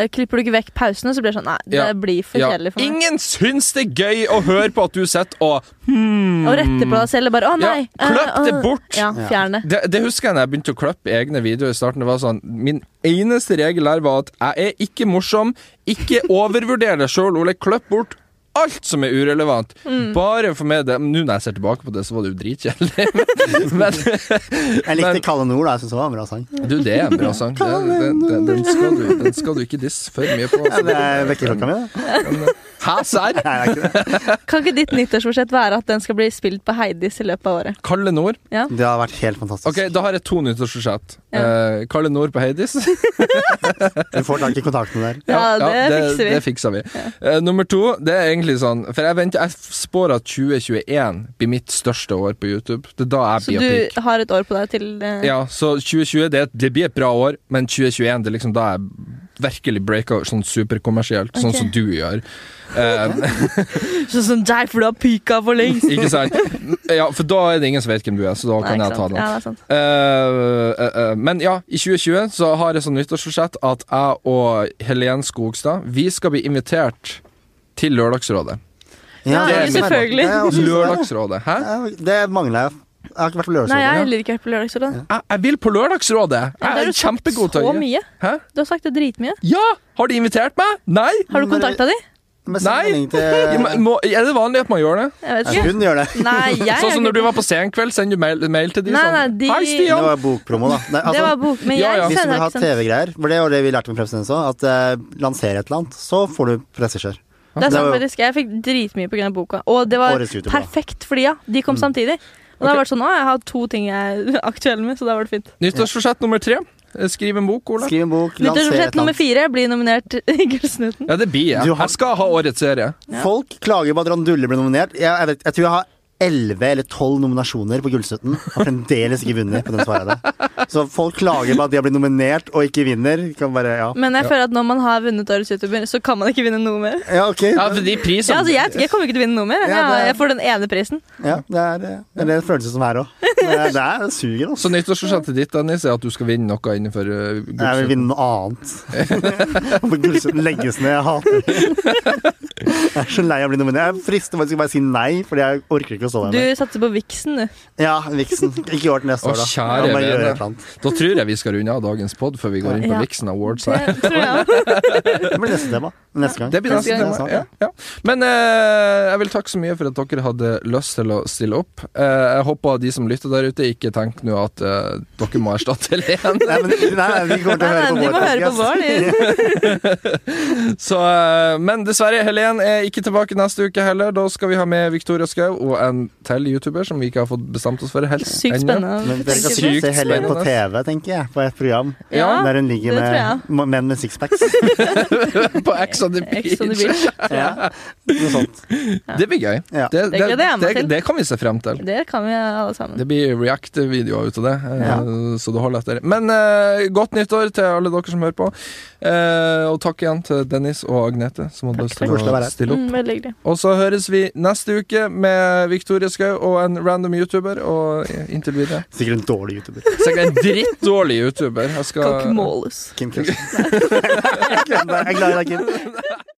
Klipper du ikke vekk pausene, så blir det sånn Nei, det
Ja.
blir for
Ja.
kjedelig for meg.
Ingen syns det er gøy å høre på at du sitter og hmm.
Å rette på deg selv og bare Å,
Ja,
nei!
kløpp
eh,
det
å-
bort.
Ja,
Ja.
fjern det.
Det, det husker jeg når jeg begynte å kløppe i egne videoer i starten. Det var sånn, Min eneste regel her var at jeg er ikke morsom, ikke overvurder deg sjøl, Ole. Kløpp bort alt som er urelevant.
Mm.
Bare for meg det. Nå når jeg ser tilbake på det, så var det jo dritkjedelig. Men,
Jeg
Men-
likte Kalle Nord, da. Jeg syns det var en bra sang.
Du, det er en bra sang. Den, den, den, den, skal, du, den skal du ikke disse for mye på.
Ja, det
Altså.
er vekkerklokka mi, det.
Hæ, serr?
Nei, det er ikke det.
Kan ikke ditt nyttårsforsett være at den skal bli spilt på Heidis i løpet av året?
Kalle Nord.
Ja.
Det har vært helt fantastisk.
Ok, da har jeg to nyttårsforsett.
Ja.
Eh, Kalle Nord på Heidis.
Du får tak i kontaktene der.
Ja, det fikser vi.
Det fikser vi. Eh, nummer to, det er egentlig sånn For jeg, venter, jeg spår at 2021 blir mitt største år på YouTube. Det er da jeg
Så
blir peak.
du har et år på deg til eh,
Ja, så 2020 det, det blir et bra år, men 2021 det er liksom da jeg virkelig breaker sånn superkommersielt, sånn
Ok.
som du gjør. Eh,
Sånn som deg, for du har pika for lengst!
Ikke sant? Ja, for da er det ingen som vet hvem du er, så da kan
Nei,
jeg
ikke
ta
sant?
den.
Ja, det er sant.
Eh, eh, eh, men ja, i 2020 så har jeg som nyttårsforsett at jeg og Helen Skogstad Vi skal bli invitert til Lørdagsrådet. det
Ja,
er
det er
selvfølgelig.
smart. Det er også-
Lørdagsrådet, hæ?
Ja, Det mangler jeg. Jeg har ikke vært på
Nei, jeg har
lørdagsrådet.
heller ikke vært på lørdagsrådet.
Jeg, jeg vil på Lørdagsrådet!
Ja, det
Jeg
har
er
du sagt
kjempegod til
så
å gi.
mye.
Hæ?
Du har sagt det dritmye.
Ja! Har de invitert meg? Nei!
Har du
Men dere-
kontakta de?
Men send
Nei.
melding til-
Ja, men Må, er det vanlig at man gjør det?
Jeg vet ikke.
Hun gjør det.
Nei, jeg
Sånn som
har
når du
ikke-
var på Senkveld, sender du mail, mail til de
Nei,
sånn
nei, de-
Hei,
Det
Stian!
var bokpromo, da. Nei, altså,
Det var bok, men jeg
Ja, ja.
Hvis du
sender
vil ha
ikke sånn.
TV-greier, for det var det vi lærte med Prepsen også, at eh, lanser et eller annet, så får du presseskjør.
Det er
Det
sant,
var jo-
faktisk. Jeg fikk dritmye pga. boka. Og det var
Årets Mm. YouTube, da.
perfekt, fordi ja, de kom samtidig. Og
Ok.
da har det vært sånn, å, jeg har to ting jeg er aktuell med, så da var det fint.
Nyttårsforsett nummer tre. Eh, Skriv en bok, Ola.
Skriv en bok, lanser et
Nyttårsforsett
eller
nummer
annet.
fire blir nominert i Gullsnuten.
Ja, det blir jeg.
Du har-
Jeg skal ha årets serie.
Ja.
Folk klager på at Ron Dulle ble nominert. Jeg, jeg, vet, jeg tror jeg har elleve eller tolv nominasjoner på Gullstøtten. Har fremdeles ikke vunnet på den svaret. Så folk klager på at de har blitt nominert og ikke vinner. Kan bare, ja.
Men jeg føler at når man har vunnet Årets YouTuber, så kan man ikke vinne noe mer. altså,
ja, ok.
Ja, for de prisene
Ja, altså, jeg, jeg kommer ikke til å vinne noe mer.
Ja,
Jeg,
det er-
jeg får den ene prisen.
Ja, det er eh, det er en følelse som er òg. Men det er det suger, altså.
Så nyttårsforsettet ditt Dennis, er at du skal vinne noe innenfor uh,
Jeg vil
gullsøk.
vinne noe annet. Om gullsøtten legges ned, jeg hater det. Jeg er så lei av å bli nominert. Jeg frister faktisk å bare si nei, Fordi jeg orker ikke å stå der
Du
mer.
satser på Vixen, du.
Ja, Vixen. Ikke i år til neste
Å,
år, da.
kjære
Jeg må bare gjøre
vene.
et eller annet.
Da tror jeg vi skal runde av dagens pod før vi går inn på
Ja.
Vixen Awards. Her.
Det tror jeg også.
Det blir neste tema. Neste gang.
Det blir neste tema.
Neste gang.
Ja, ja. Men eh, jeg vil takke så mye for at dere hadde lyst til å stille opp. Eh, jeg håper de som lytter der ute, ikke tenker nå at eh, dere må erstatte Helen.
Nei, men, nei, vi kommer til å
Nei,
høre
nei,
på vår
de må høre på
podcast.
vår, de.
Så, eh, men dessverre, Helen er ikke tilbake neste uke heller. Da skal vi ha med Victoria Skau og en til YouTuber som vi ikke har fått bestemt oss for helt
Sykt
ennå.
Men
spennende.
dere
Tenker
kan
sykt
sikkert se Helen på
spennende.
TV, tenker jeg. På et program
Ja,
der hun ligger
det tror
med
jeg.
menn med sixpacks.
på Ex on the
Ex on the
Beach.
beach.
Ja. Noe sånt.
Det blir gøy.
Ja.
Det,
Det er gøy, det er jeg med
det,
til. Mm.
det kan vi se frem til.
Det kan vi alle sammen.
Det blir react-videoer ut av det, eh,
Ja.
så det holder etter. Men eh, godt nyttår til alle dere som hører på. Eh, og takk igjen til Dennis og Agnete, som hadde lyst til
Koselig å
å
være her.
stille opp.
Mm, veldig hyggelig.
Og så høres vi neste uke med Victoria Skau og en random YouTuber. Og inntil videre
Sikkert en dårlig YouTuber.
Sikkert en drittdårlig YouTuber. Jeg
Kan ikke
skal
måles.
Kim Kjøstheim. Jeg er glad i deg, Kim.